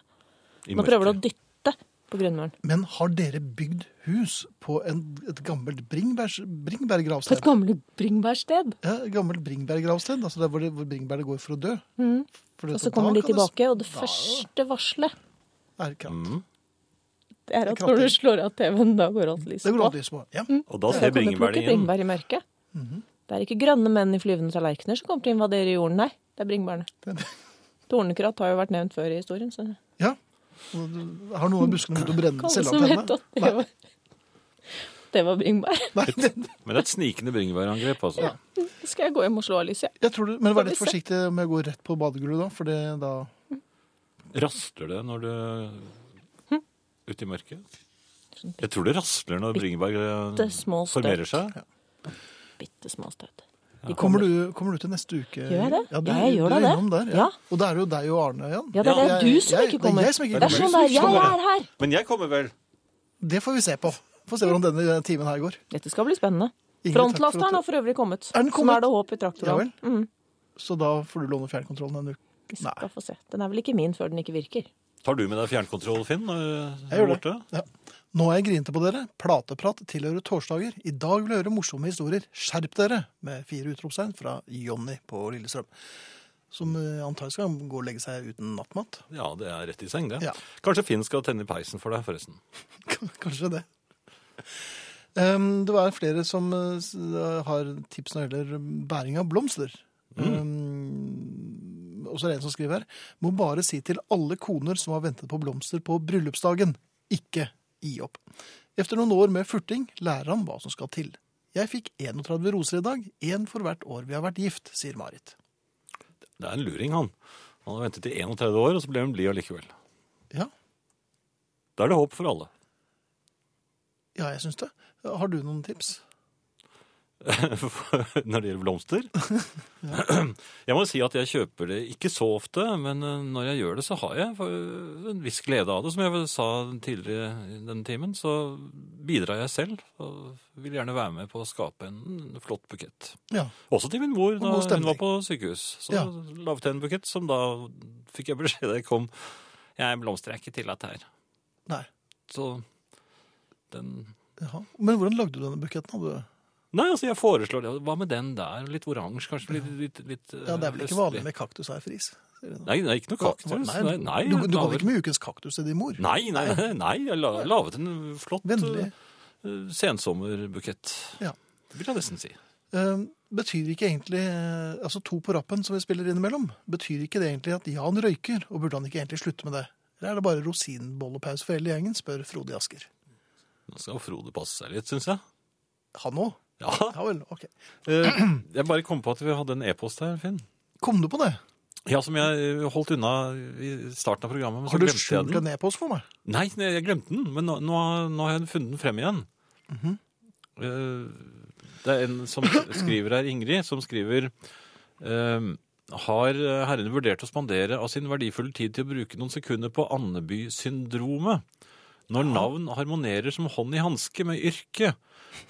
Speaker 1: i
Speaker 3: Nå prøver det
Speaker 1: mørket.
Speaker 3: å dytte på grunnmuren.
Speaker 2: Men har dere bygd hus på en, et gammelt bringbærs,
Speaker 3: På
Speaker 2: bringbærgravsted?
Speaker 3: et gammelt bringebærsted.
Speaker 2: Ja, et gammelt bringbærgravsted, altså der hvor, det, hvor bringbærene går for å dø. For det-
Speaker 3: Mm. Og
Speaker 2: da
Speaker 3: så kommer de
Speaker 2: kan det
Speaker 3: tilbake, og det
Speaker 2: da-
Speaker 3: første varselet
Speaker 2: er kratt.
Speaker 1: Mm.
Speaker 3: det er at
Speaker 2: Det er
Speaker 3: når du
Speaker 2: kratt.
Speaker 3: slår av TV-en, da går alt lyset
Speaker 2: Det går
Speaker 3: på.
Speaker 2: an å lyse på. Ja.
Speaker 1: Og da
Speaker 3: Da
Speaker 1: ser
Speaker 3: kan du plukke
Speaker 1: bringebærene igjen.
Speaker 3: bringebær i mørket. Det er ikke grønne menn i flyvende tallerkener som kommer til å invadere jorden, nei. Det er bringebærene.
Speaker 2: Den-
Speaker 3: Tornekratt har jo vært nevnt før i historien, så
Speaker 2: ja. Og du- Har noen av buskene begynt å brenne
Speaker 3: Alle som vet
Speaker 2: selvantenne?
Speaker 3: at det var, det var bringebær.
Speaker 2: Nei, det-
Speaker 1: Men det er et snikende bringebærangrep, altså.
Speaker 2: Ja.
Speaker 3: Så skal jeg gå hjem og slå av lyset. jeg.
Speaker 2: jeg tror du, men vær litt
Speaker 3: Skal vi
Speaker 2: forsiktig med å gå rett på badegulvet da, for det da
Speaker 1: Rasler det når du
Speaker 3: Hm?
Speaker 1: Ute i mørket?
Speaker 3: Sånn
Speaker 1: Jeg tror det rasler når bringebær eh,
Speaker 3: Bitte små støt.
Speaker 1: formerer seg.
Speaker 3: Bitte små støt. De
Speaker 2: Kommer du, kommer du til neste uke?
Speaker 3: Gjør jeg det?
Speaker 2: Ja, du,
Speaker 3: Ja, jeg gjør
Speaker 2: du er
Speaker 3: da det.
Speaker 2: innom Der, ja.
Speaker 3: Ja.
Speaker 2: Og da er det jo deg og Arne igjen.
Speaker 3: Ja, det er
Speaker 2: Ja,
Speaker 3: det. du
Speaker 2: jeg-
Speaker 3: som
Speaker 2: jeg-
Speaker 3: ikke
Speaker 2: det er
Speaker 3: kommer.
Speaker 2: jeg som ikke
Speaker 3: Det er
Speaker 2: kommer.
Speaker 3: sånn der, jeg
Speaker 1: Kommer.
Speaker 3: er her!
Speaker 1: Men jeg kommer vel.
Speaker 2: Det får vi se på. Får se hvordan denne timen her går.
Speaker 3: Dette skal bli spennende.
Speaker 2: Ingrid, takk for at
Speaker 3: Frontlasteren
Speaker 2: du-
Speaker 3: har for øvrig kommet.
Speaker 2: Er den
Speaker 3: Som
Speaker 2: kommet?
Speaker 3: er det håp i
Speaker 2: Ja vel.
Speaker 3: traktorene.
Speaker 2: Så da får du låne fjernkontrollen en uke.
Speaker 3: Vi skal få se. Den er vel ikke min før den ikke virker.
Speaker 1: Tar du med deg fjernkontroll, Finn? eh, når du
Speaker 2: Jeg
Speaker 1: er
Speaker 2: gjør det.
Speaker 1: borte?
Speaker 2: Ja. Nå er jeg grinete på dere. Plateprat tilhører torsdager. I dag vil jeg høre morsomme historier. Skjerp dere! Med fire utropstegn fra Jonny på Lillestrøm. Som eh, antagelig skal gå og legge seg uten nattmat.
Speaker 1: Ja, det er rett i seng, det.
Speaker 2: Ja.
Speaker 1: Kanskje Finn skal tenne i peisen for deg, forresten.
Speaker 2: Kanskje det. Um, det var flere som eh, s- har tips når det gjelder bæring av blomster. Um, og så er det en som skriver her. Må bare si til alle koner som har ventet på blomster på bryllupsdagen, ikke gi opp. Efter noen år med furting lærer han hva som skal til. Jeg fikk 31 roser i dag, én for hvert år vi har vært gift, sier Marit.
Speaker 1: Det er en luring, han. Han har ventet i 31 år, og så ble han blid allikevel.
Speaker 2: Ja,
Speaker 1: Da er det håp for alle.
Speaker 2: ja jeg syns det. Har du noen tips?
Speaker 1: når det gjelder blomster. Jeg må si at jeg kjøper det ikke så ofte, men eh, når jeg gjør det, så har jeg eh, en viss glede av det. Som jeg vel sa tidligere i denne timen, så bidrar jeg selv. Og vil gjerne være med på å skape en flott bukett.
Speaker 2: Ja.
Speaker 1: Også til min mor da
Speaker 2: god stemning.
Speaker 1: hun var på sykehus. Så
Speaker 2: Ja.
Speaker 1: lagde jeg en bukett som da fikk jeg beskjed da jeg kom. Jeg blomster er ikke tillatt her.
Speaker 2: Nei.
Speaker 1: Så den
Speaker 2: Jaha. Men hvordan lagde du denne buketten? Hadde du...
Speaker 1: Nei, altså jeg foreslår det. Hva med den der? Litt oransje, kanskje? Litt, litt, litt
Speaker 2: Ja, det er vel
Speaker 1: østlig.
Speaker 2: ikke vanlig med kaktus her, Friis?
Speaker 1: Nei, det er ikke noe kaktus. Nei, nei,
Speaker 2: du, du kom
Speaker 1: laver-
Speaker 2: ikke med ukens kaktus til din mor?
Speaker 1: Nei, nei, nei, jeg la, laget en flott
Speaker 2: Vennlig.
Speaker 1: eh, sensommerbukett.
Speaker 2: Ja.
Speaker 1: Det vil jeg nesten si.
Speaker 2: Eh, betyr ikke egentlig eh, Altså to på rappen som vi spiller innimellom, betyr ikke det egentlig at Jan røyker, og burde han ikke egentlig slutte med det? Eller er det bare rosinbollepause for hele gjengen, spør Frode Asker.
Speaker 1: Nå skal Frode passe seg litt, syns jeg.
Speaker 2: Han òg?
Speaker 1: Ja.
Speaker 2: Ja vel, ok.
Speaker 1: Eh, Jeg bare kom på at vi hadde en e-post her, Finn.
Speaker 2: Kom du på det?
Speaker 1: Ja, som jeg eh, holdt unna i starten av programmet. Men så
Speaker 2: Har du
Speaker 1: glemte jeg
Speaker 2: skjult
Speaker 1: den.
Speaker 2: en e-post for meg?
Speaker 1: Nei, nei, jeg glemte den, men nå, nå, nå har jeg funnet den frem igjen. Eh, Det er en som skriver her, Ingrid, som skriver eh, Har herrene vurdert å spandere av sin verdifulle tid til å bruke noen sekunder på Andeby-syndromet? Når navn harmonerer som hånd i hanske med yrke.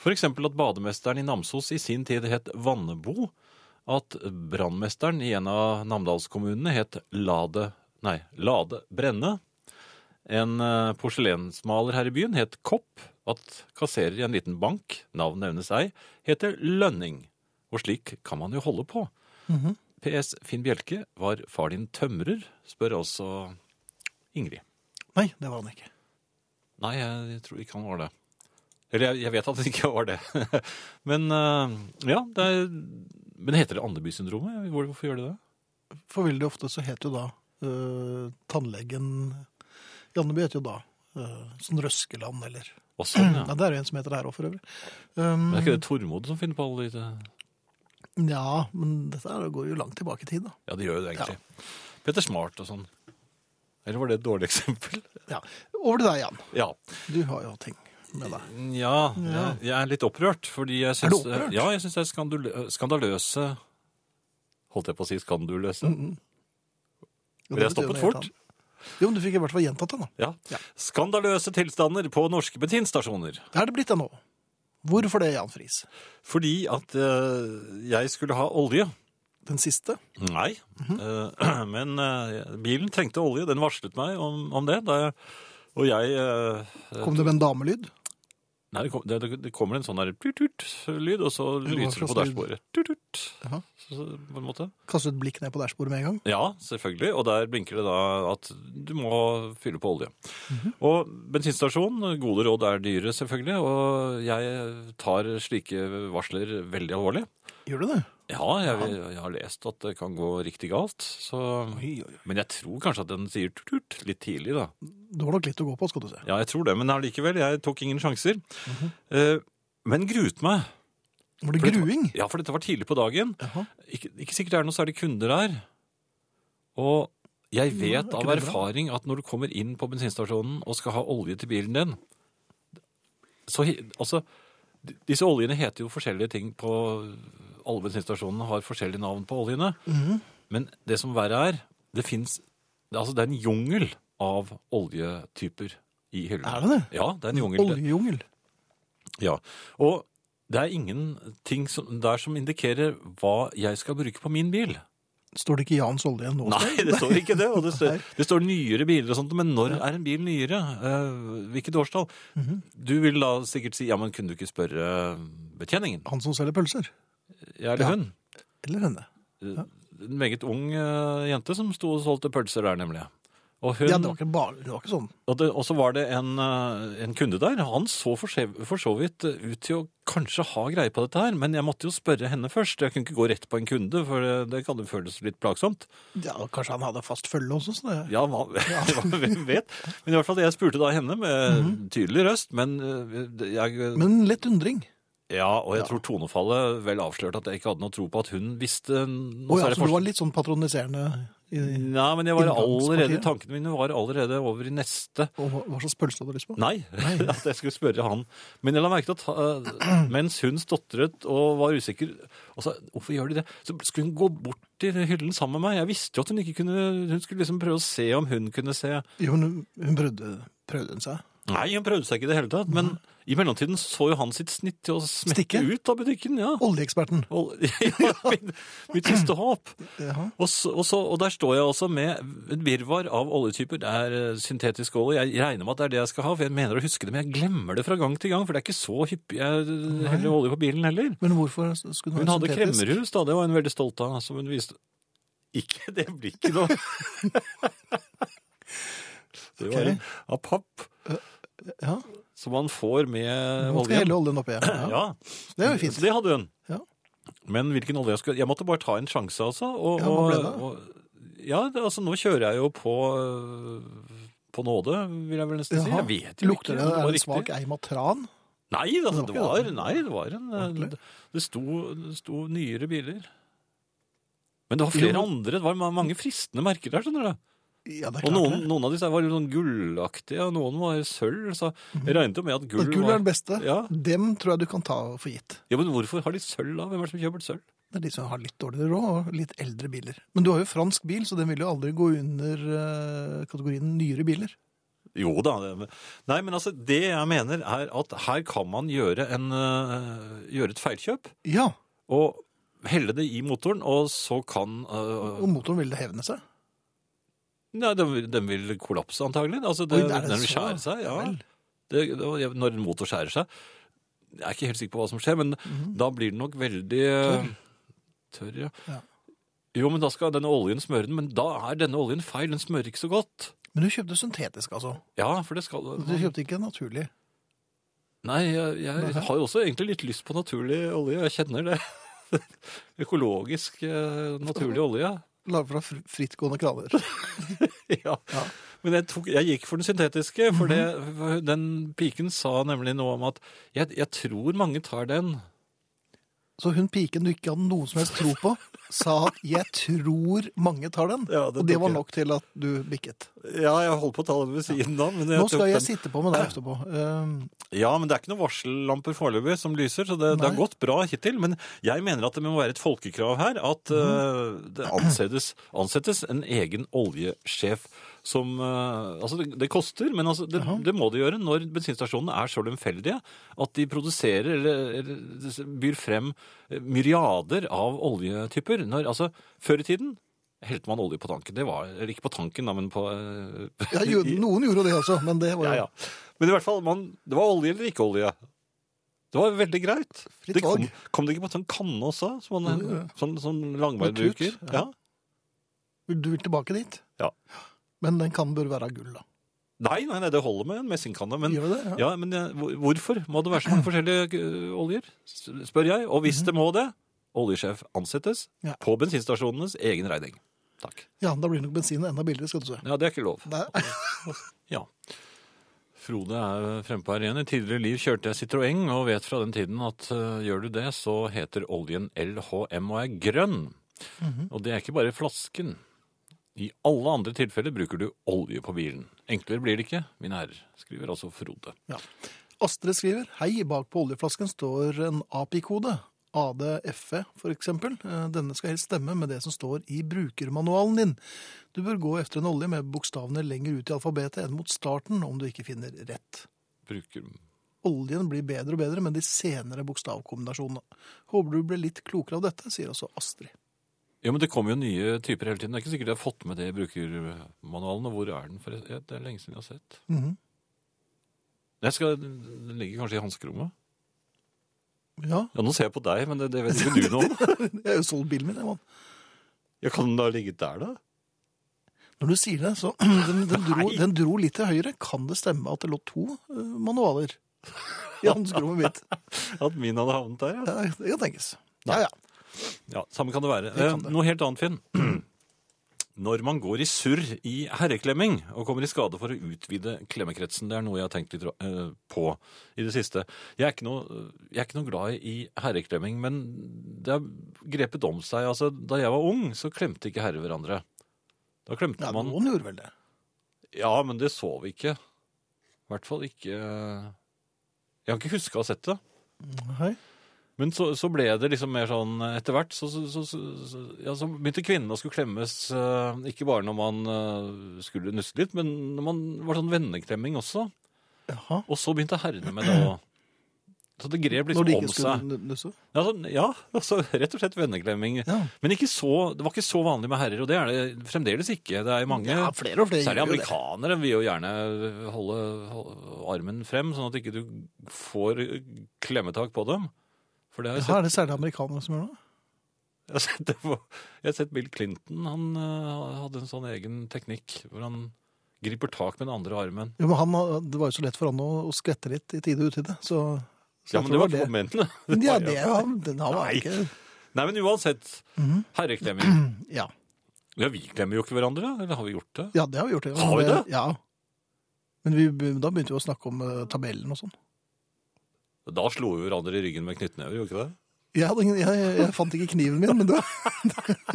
Speaker 1: For eksempel at bademesteren i Namsos i sin tid het Vannebo. At brannmesteren i en av namdalskommunene het Lade, nei, Lade Brenne. en eh, porselensmaler her i byen het Kopp, at kasserer i en liten bank, navnet evnes ei, heter Lønning. Og slik kan man jo holde på.
Speaker 2: Mhm.
Speaker 1: PS Finn Bjelke, var far din tømrer? spør også Ingrid.
Speaker 2: Nei, det var han ikke.
Speaker 1: Nei, jeg tror ikke han var det. Eller jeg, jeg vet at han ikke var det. men eh, ja, det er, men heter det Andeby-syndromet? Hvor- Hvorfor gjør det det?
Speaker 2: For veldig ofte så het jo da øh, tannlegen Janneby het jo da øh, sånn Røskeland eller
Speaker 1: Og sånn, ja.
Speaker 2: Nei, det er jo en som heter det her òg, for øvrig. Um,
Speaker 1: Men er ikke det Tormod som finner på alle de
Speaker 2: Ja, men dette her går jo langt tilbake i tid, da.
Speaker 1: Ja, det gjør jo det, egentlig. Peter Smart og sånn. Eller var det et dårlig eksempel?
Speaker 2: Ja. Over til deg, Jan.
Speaker 1: Ja.
Speaker 2: Du har jo ting med deg.
Speaker 1: Ja, Jeg, jeg er litt opprørt, fordi jeg
Speaker 2: Er du
Speaker 1: syns
Speaker 2: opprørt?
Speaker 1: Ja, jeg syns det er skandul- skandaløse Holdt jeg på å si skanduløse?
Speaker 2: Jo,
Speaker 1: Men jeg
Speaker 2: det betyr jo
Speaker 1: stoppet
Speaker 2: noe helt
Speaker 1: fort.
Speaker 2: annet. Jo, men du fikk i hvert fall gjentatt det nå.
Speaker 1: Ja.
Speaker 2: Ja.
Speaker 1: Skandaløse tilstander på norske bensinstasjoner.
Speaker 2: Det er det blitt det nå. Hvorfor det, Jan Friis?
Speaker 1: Fordi at eh, jeg skulle ha olje.
Speaker 2: Den siste?
Speaker 1: Nei, Eh, men eh, bilen trengte olje. Den varslet meg om, om det. Da jeg, og jeg eh,
Speaker 2: Kom det med en damelyd?
Speaker 1: Nei, det, kom, det, det kommer en sånn der tut-tut-lyd, og så
Speaker 2: hva
Speaker 1: lyser det på
Speaker 2: slags lyd?
Speaker 1: dashbordet. Tut-tut.
Speaker 2: Jaha.
Speaker 1: Så- så- På en måte.
Speaker 2: Kastet et blikk ned på dashbordet med en gang?
Speaker 1: Ja, selvfølgelig. Og der blinker det da at du må fylle på olje.
Speaker 2: Mhm.
Speaker 1: Og bensinstasjon, gode råd er dyre, selvfølgelig. Og jeg tar slike varsler veldig alvorlig.
Speaker 2: Gjør du det?
Speaker 1: Ja, jeg, jeg har lest at det kan gå riktig galt, så
Speaker 2: Oi, oi, oi.
Speaker 1: Men jeg tror kanskje at den sier tut-tut litt tidlig, da.
Speaker 2: Du har nok litt å gå på, skal du se.
Speaker 1: Ja, jeg tror det, men allikevel, jeg tok ingen sjanser.
Speaker 2: Mhm.
Speaker 1: Eh, Men gruet meg.
Speaker 2: Var det
Speaker 1: For dette var-
Speaker 2: gruing?
Speaker 1: Ja, for dette var tidlig på dagen.
Speaker 2: Jaha.
Speaker 1: Ikke, ikke sikkert det er noe særlig kunder der. Og jeg
Speaker 2: Ja, er
Speaker 1: vet
Speaker 2: ikke
Speaker 1: av
Speaker 2: det bra?
Speaker 1: erfaring at når du kommer inn på bensinstasjonen og skal ha olje til bilen din så, he- altså, d- Disse oljene heter jo forskjellige ting på Alle bensinstasjonene har forskjellige navn på oljene.
Speaker 2: Mhm.
Speaker 1: Men det som verre er, det fins Altså, det er en jungel av oljetyper i hyllene.
Speaker 2: Er det det?
Speaker 1: Ja, det er en jungel.
Speaker 2: Oljejungel.
Speaker 1: Ja, og det er ingenting som, der som indikerer hva jeg skal bruke på min bil.
Speaker 2: Står det ikke Jans olje nå?
Speaker 1: Nei, det står ikke det. Og det, står,
Speaker 2: Nei.
Speaker 1: det står nyere biler og sånt, men når er en bil nyere? Eh, hvilket årstall? Du vil da sikkert si, ja, men kunne du ikke spørre eh, betjeningen?
Speaker 2: Han som selger pølser?
Speaker 1: Ja, eller
Speaker 2: Ja.
Speaker 1: hun?
Speaker 2: Eller henne?
Speaker 1: En meget ung eh, jente som sto og solgte pølser der, nemlig. Og hun,
Speaker 2: Ja, det var ikke, bare, det var ikke sånn.
Speaker 1: Og, det, og så var det en, eh, en kunde der. Han så for, se- for så vidt ut til å kanskje ha greie på dette her, men jeg måtte jo spørre henne først. Jeg kunne ikke gå rett på en kunde, for det, det kan jo føles litt plagsomt.
Speaker 2: Ja, Kanskje han hadde fast følge også? Så det...
Speaker 1: Ja, hva, hvem vet? Men i hvert fall, jeg spurte da henne med tydelig røst, men eh, jeg
Speaker 2: Mhm. Men lett undring.
Speaker 1: Ja, og jeg tror tonefallet vel avslørte at jeg ikke hadde noe tro på at hun visste noe
Speaker 2: Å
Speaker 1: særlig
Speaker 2: ja, så du
Speaker 1: forskjell.
Speaker 2: var litt sånn patroniserende i,
Speaker 1: Nei, men jeg var allerede,
Speaker 2: Inngangspartiet?
Speaker 1: tankene mine var allerede over i neste
Speaker 2: og hva- hva slags pølse hadde du lyst på?
Speaker 1: Nei, at jeg skulle spørre han. Men jeg la merke til at eh, mens hun stotret og var usikker, og sa, hvorfor gjør de det? Så skulle hun gå bort til hyllen sammen med meg. Jeg visste jo at hun ikke kunne, hun skulle liksom prøve å se om hun kunne se.
Speaker 2: Jo, men hun- hun prøvde, prøvde hun seg.
Speaker 1: Nei, hun prøvde seg ikke i det hele tatt, men i mellomtiden så jo han sitt snitt til å smette
Speaker 2: Stikke?
Speaker 1: ut av butikken, ja.
Speaker 2: Oljeeksperten.
Speaker 1: Og, ja mitt, mitt siste håp.
Speaker 2: Jaha.
Speaker 1: Og, så, og, så, og der står jeg også med et virvar av oljetyper. Det er eh, syntetisk olje. Jeg regner med at det er det jeg skal ha, for jeg mener å huske det, men jeg glemmer det fra gang til gang, for det er ikke så hyppig jeg eh, heller olje på bilen heller.
Speaker 2: Men hvorfor skulle hun
Speaker 1: Hun
Speaker 2: være
Speaker 1: hadde
Speaker 2: syntetisk?
Speaker 1: kremmerhus, da. Det var hun veldig stolt av, som hun viste. Ikke det blir ikke noe. det var
Speaker 2: Ok.
Speaker 1: en- av papp
Speaker 2: Ja,
Speaker 1: som man får med
Speaker 2: Hun skal
Speaker 1: oljen.
Speaker 2: helle oljen oppi. Ja.
Speaker 1: Eh, Ja,
Speaker 2: Det er jo
Speaker 1: så
Speaker 2: fint.
Speaker 1: det hadde hun.
Speaker 2: Ja.
Speaker 1: Men hvilken olje jeg skulle Jeg måtte bare ta en sjanse, altså. Og,
Speaker 2: Ja, hva ble det?
Speaker 1: og, ja, det, altså nå kjører jeg jo på øh, på nåde, vil jeg vel nesten si.
Speaker 2: Jaha.
Speaker 1: Jeg vet jo
Speaker 2: Lukter
Speaker 1: ikke.
Speaker 2: det,
Speaker 1: om
Speaker 2: er
Speaker 1: var
Speaker 2: det
Speaker 1: riktig.
Speaker 2: svak eim av tran?
Speaker 1: Nei, altså,
Speaker 2: Det
Speaker 1: det
Speaker 2: var ikke
Speaker 1: var,
Speaker 2: det.
Speaker 1: nei, det var en øh,
Speaker 2: Ordentlig.
Speaker 1: Det sto, det sto nyere biler. Men det var flere
Speaker 2: Jo.
Speaker 1: andre. Det var ma- mange fristende merker der, skjønner du.
Speaker 2: Ja, det er
Speaker 1: Og
Speaker 2: klart
Speaker 1: noen,
Speaker 2: det.
Speaker 1: noen av disse var jo sånn gullaktige, og noen var sølv. Så jeg regnet jo med at gull,
Speaker 2: At Mhm. gull er
Speaker 1: var
Speaker 2: den beste.
Speaker 1: Ja.
Speaker 2: Dem tror jeg du kan ta for gitt.
Speaker 1: ja, Men hvorfor har de sølv, da? Hvem er det som kjøper sølv?
Speaker 2: Det er de som har litt dårligere råd og litt eldre biler. Men du har jo fransk bil, så den vil jo aldri gå under eh, kategorien nyere biler.
Speaker 1: Jo da. det- Nei, men altså, det jeg mener er at her kan man gjøre, en, øh, gjøre et feilkjøp,
Speaker 2: Ja,
Speaker 1: og helle det i motoren, og så kan øh,
Speaker 2: og motoren vil det hevne seg.
Speaker 1: Nei, den, vil- den vil kollapse antagelig. Altså, det,
Speaker 2: Oi, er det
Speaker 1: den vil
Speaker 2: så?
Speaker 1: skjære seg. Ja.
Speaker 2: Ja vel.
Speaker 1: Det, det, når en motor skjærer seg. Jeg er ikke helt sikker på hva som skjer, men
Speaker 2: Mhm.
Speaker 1: da blir den nok veldig eh, Tørr, ja.
Speaker 2: Ja.
Speaker 1: Jo, men da skal denne oljen smøre den, men da er denne oljen feil. Den smører ikke så godt.
Speaker 2: Men du kjøpte syntetisk, altså?
Speaker 1: Ja, for det skal
Speaker 2: Du kjøpte ikke naturlig?
Speaker 1: Nei, jeg, jeg har jo også egentlig litt lyst på naturlig olje. Jeg kjenner det. Økologisk, eh, naturlig olje.
Speaker 2: Laget fra fr- frittgående kraner?
Speaker 1: Ja.
Speaker 2: Ja.
Speaker 1: Men jeg, tok, jeg gikk for den syntetiske, for det, den piken sa nemlig noe om at jeg, jeg tror mange tar den.
Speaker 2: Så hun piken du ikke hadde noen som helst tro på, sa at 'jeg tror mange tar den'.
Speaker 1: Ja, det
Speaker 2: og det
Speaker 1: tok
Speaker 2: var
Speaker 1: jeg.
Speaker 2: nok til at du bikket.
Speaker 1: Ja, jeg holdt på å ta den ved siden av. Men
Speaker 2: Nå skal jeg sitte på med deg etterpå. Ehm,
Speaker 1: Ja, men det er ikke noen varsellamper foreløpig som lyser, så det, det har
Speaker 2: Nei.
Speaker 1: gått bra hittil. Men jeg mener at det må være et folkekrav her at
Speaker 2: Mhm.
Speaker 1: eh, det ansettes, ansettes en egen oljesjef som eh, Altså, det, det koster, men altså, det, det må det gjøre når bensinstasjonene er så lemfeldige at de produserer eller, eller byr frem eh, myriader av oljetyper. Når, altså, før i tiden helte man olje på tanken. Det var, eller ikke på tanken, da, men på eh,
Speaker 2: ja, jo, noen gjorde det også, men det var jo
Speaker 1: ja, ja. Men i hvert fall, man, det var olje eller ikke olje. Det var veldig greit.
Speaker 2: Fritt
Speaker 1: det kom,
Speaker 2: valg.
Speaker 1: kom det ikke på en sånn kanne også? Som man,
Speaker 2: Jo, jo.
Speaker 1: sånn, sånn
Speaker 2: Med
Speaker 1: langvarig
Speaker 2: tut,
Speaker 1: bruker?
Speaker 2: ja.
Speaker 1: Ja.
Speaker 2: Du vil tilbake dit?
Speaker 1: Ja.
Speaker 2: Men den kan bør være av gull, da.
Speaker 1: Nei, nei, nei, det holder med en messingkanne. Men,
Speaker 2: Gjør det det? Ja.
Speaker 1: ja, men jeg- hvor- hvorfor må det være så mange forskjellige ø, oljer? S- Spør jeg. Og hvis det må det, oljesjef ansettes
Speaker 2: Ja.
Speaker 1: på bensinstasjonenes egen regning. Takk.
Speaker 2: ja, da blir nok bensinen enda billigere, skal du se.
Speaker 1: Ja, det er ikke lov.
Speaker 2: Det er,
Speaker 1: Ja. Frode er frempå her igjen. I tidligere liv kjørte jeg Citroën, og vet fra den tiden at eh, gjør du det, så heter oljen LHM og er grønn. Og det er ikke bare flasken. I alle andre tilfeller bruker du olje på bilen. Enklere blir det ikke, mine herrer, skriver altså Frode.
Speaker 2: ja. Astrid skriver Hei, bak på oljeflasken står en API-kode. ADFE, E, for eksempel. Eh, Denne skal helst stemme med det som står i brukermanualen din. Du bør gå etter en olje med bokstavene lenger ut i alfabetet enn mot starten, om du ikke finner rett.
Speaker 1: Bruker
Speaker 2: Oljen blir bedre og bedre med de senere bokstavkombinasjonene. Håper du ble litt klokere av dette, sier også Astrid.
Speaker 1: Ja, men det kommer jo nye typer hele tiden. Det er ikke sikkert jeg har fått med det i brukermanualen, og hvor er den? For jeg- det er lenge siden jeg har sett.
Speaker 2: Mhm.
Speaker 1: Jeg skal, den ligger kanskje i hanskerommet?
Speaker 2: Ja,
Speaker 1: Ja, nå ser jeg på deg, men det, det vet ikke du noe om.
Speaker 2: jeg har jo solgt bilen min, jeg, mann.
Speaker 1: Ja, kan den da ligge der, da?
Speaker 2: Når du sier det, så den, den, dro,
Speaker 1: Nei.
Speaker 2: den dro litt til høyre. Kan det stemme at det lå to eh, manualer i hanskerommet mitt?
Speaker 1: At min hadde havnet der, altså. ja.
Speaker 2: Ja, det kan tenkes. Ja, ja.
Speaker 1: ja samme kan det være.
Speaker 2: Det kan det.
Speaker 1: Eh, Noe helt annet, Finn. Når man går i surr i herreklemming og kommer i skade for å utvide klemmekretsen, det er noe jeg har tenkt litt eh, på i det siste. Jeg er ikke noe, jeg er ikke noe glad i herreklemming, men det har grepet om seg. Altså, da jeg var ung, så klemte ikke herrer hverandre. Da klemte
Speaker 2: ja
Speaker 1: man
Speaker 2: noen gjorde vel det.
Speaker 1: Ja, men det så vi ikke. I hvert fall ikke Jeg har ikke huska å ha sett det.
Speaker 2: Hei.
Speaker 1: Men så, så ble det liksom mer sånn eh, etter hvert, så, så, så, så, så, ja, så begynte kvinnene å skulle klemmes, eh, ikke bare når man eh, skulle nusse litt, men når man var sånn venneklemming også.
Speaker 2: Jaha.
Speaker 1: Og så begynte herrene med det òg. Så det grep
Speaker 2: Når
Speaker 1: liksom
Speaker 2: de
Speaker 1: om
Speaker 2: ikke skulle
Speaker 1: seg.
Speaker 2: nu- nusse?
Speaker 1: Ja, sånn, ja altså, rett og slett venneklemming.
Speaker 2: Ja.
Speaker 1: Men ikke så, det var ikke så vanlig med herrer, og det er det fremdeles ikke. Det er mange,
Speaker 2: ja, flere og flere
Speaker 1: særlig
Speaker 2: gjør jo det.
Speaker 1: amerikanere, vil jo gjerne holde, holde armen frem, sånn at ikke du får klemmetak på dem. For det har jeg sett
Speaker 2: Ja, er det særlig amerikanere som gjør det?
Speaker 1: jeg har sett, det på- jeg har sett Bill Clinton. Han eh, hadde en sånn egen teknikk hvor han griper tak med den andre armen.
Speaker 2: Jo, men han, det var jo så lett for han å, å skvette litt i tide og utide. Så, så
Speaker 1: Ja,
Speaker 2: jeg
Speaker 1: men
Speaker 2: tror
Speaker 1: det var på momentene.
Speaker 2: Ja, det er jo han. Den har
Speaker 1: Nei.
Speaker 2: man ikke
Speaker 1: Nei, men uansett.
Speaker 2: Mhm.
Speaker 1: Herreklemming.
Speaker 2: ja.
Speaker 1: Ja, vi klemmer jo ikke hverandre, eller har vi gjort det?
Speaker 2: ja, det har vi gjort.
Speaker 1: Har vi det?
Speaker 2: Ja. Men vi, be- da begynte vi å snakke om eh, tabellen og sånn.
Speaker 1: Da slo vi hverandre i ryggen med knyttnever, gjorde vi ikke det?
Speaker 2: Jeg, hadde ingen, jeg, jeg fant ikke kniven min, men det var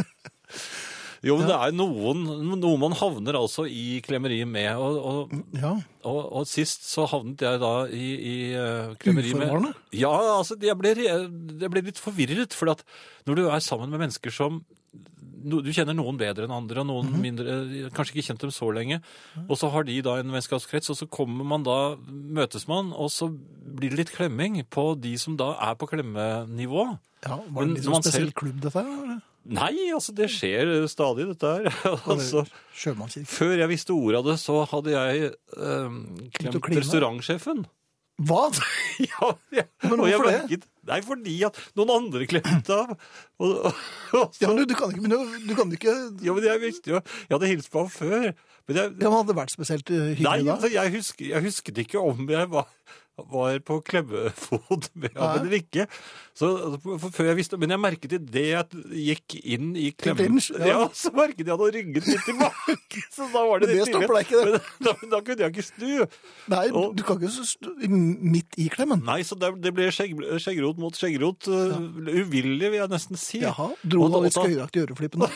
Speaker 1: Jo, men det er noen, noe man havner altså i klemmeri med, og, og
Speaker 2: ja,
Speaker 1: Og, og sist så havnet jeg da i, i eh, klemmeri med
Speaker 2: Uforvarende?
Speaker 1: Ja, altså, jeg ble, re- jeg ble litt forvirret. For at når du er sammen med mennesker som no, Du kjenner noen bedre enn andre, og noen
Speaker 2: Mhm.
Speaker 1: mindre eh, Kanskje ikke kjent dem så lenge. Og så har de da en vennskapskrets, og så kommer man da Møtes man, og så blir det litt klemming på de som da er på klemmenivå.
Speaker 2: ja, var
Speaker 1: Men
Speaker 2: det en litt
Speaker 1: når
Speaker 2: sånn
Speaker 1: man
Speaker 2: spesiell
Speaker 1: selv-
Speaker 2: klubb, dette her? eller?
Speaker 1: Nei, altså, det skjer stadig, dette her. altså,
Speaker 2: Sjømannskirke.
Speaker 1: før jeg visste ordet av det, så hadde jeg um,
Speaker 2: Begynt å
Speaker 1: klemt
Speaker 2: kline.
Speaker 1: restaurantsjefen.
Speaker 2: Hva?
Speaker 1: Ja, ja.
Speaker 2: Men
Speaker 1: og jeg
Speaker 2: hvorfor det?
Speaker 1: merket- Nei, fordi at noen andre klemte av. Og, og, og så,
Speaker 2: Ja, men du, du kan ikke begynne å- Du kan ikke
Speaker 1: ja, men jeg visste jo Jeg hadde hilst på ham før. Men jeg,
Speaker 2: Ja, men hadde det vært spesielt eh,
Speaker 1: nei,
Speaker 2: hyggelig da?
Speaker 1: altså, jeg, husker, jeg husket ikke om jeg var, var på klemmefot med ham
Speaker 2: Nei.
Speaker 1: eller ikke. Så, altså, for- for, før jeg visste, men jeg merket idet jeg gikk inn i
Speaker 2: Til
Speaker 1: klemmen
Speaker 2: lunsj,
Speaker 1: ja.
Speaker 2: ja.
Speaker 1: Så merket jeg at han rygget litt tilbake. Så da var det
Speaker 2: Men det
Speaker 1: litt stille.
Speaker 2: stopper deg ikke, det.
Speaker 1: Men da, da kunne jeg ikke snu.
Speaker 2: Nei, du-
Speaker 1: og-
Speaker 2: du kan ikke så stå i- midt i klemmen.
Speaker 1: Nei, så det, det ble skjegg, skjeggrot mot skjeggrot. øh, Uvillig, vil jeg nesten si.
Speaker 2: Jaha. Dro
Speaker 1: Og da-
Speaker 2: han litt
Speaker 1: og da-
Speaker 2: skøyeraktig i øreflippen da?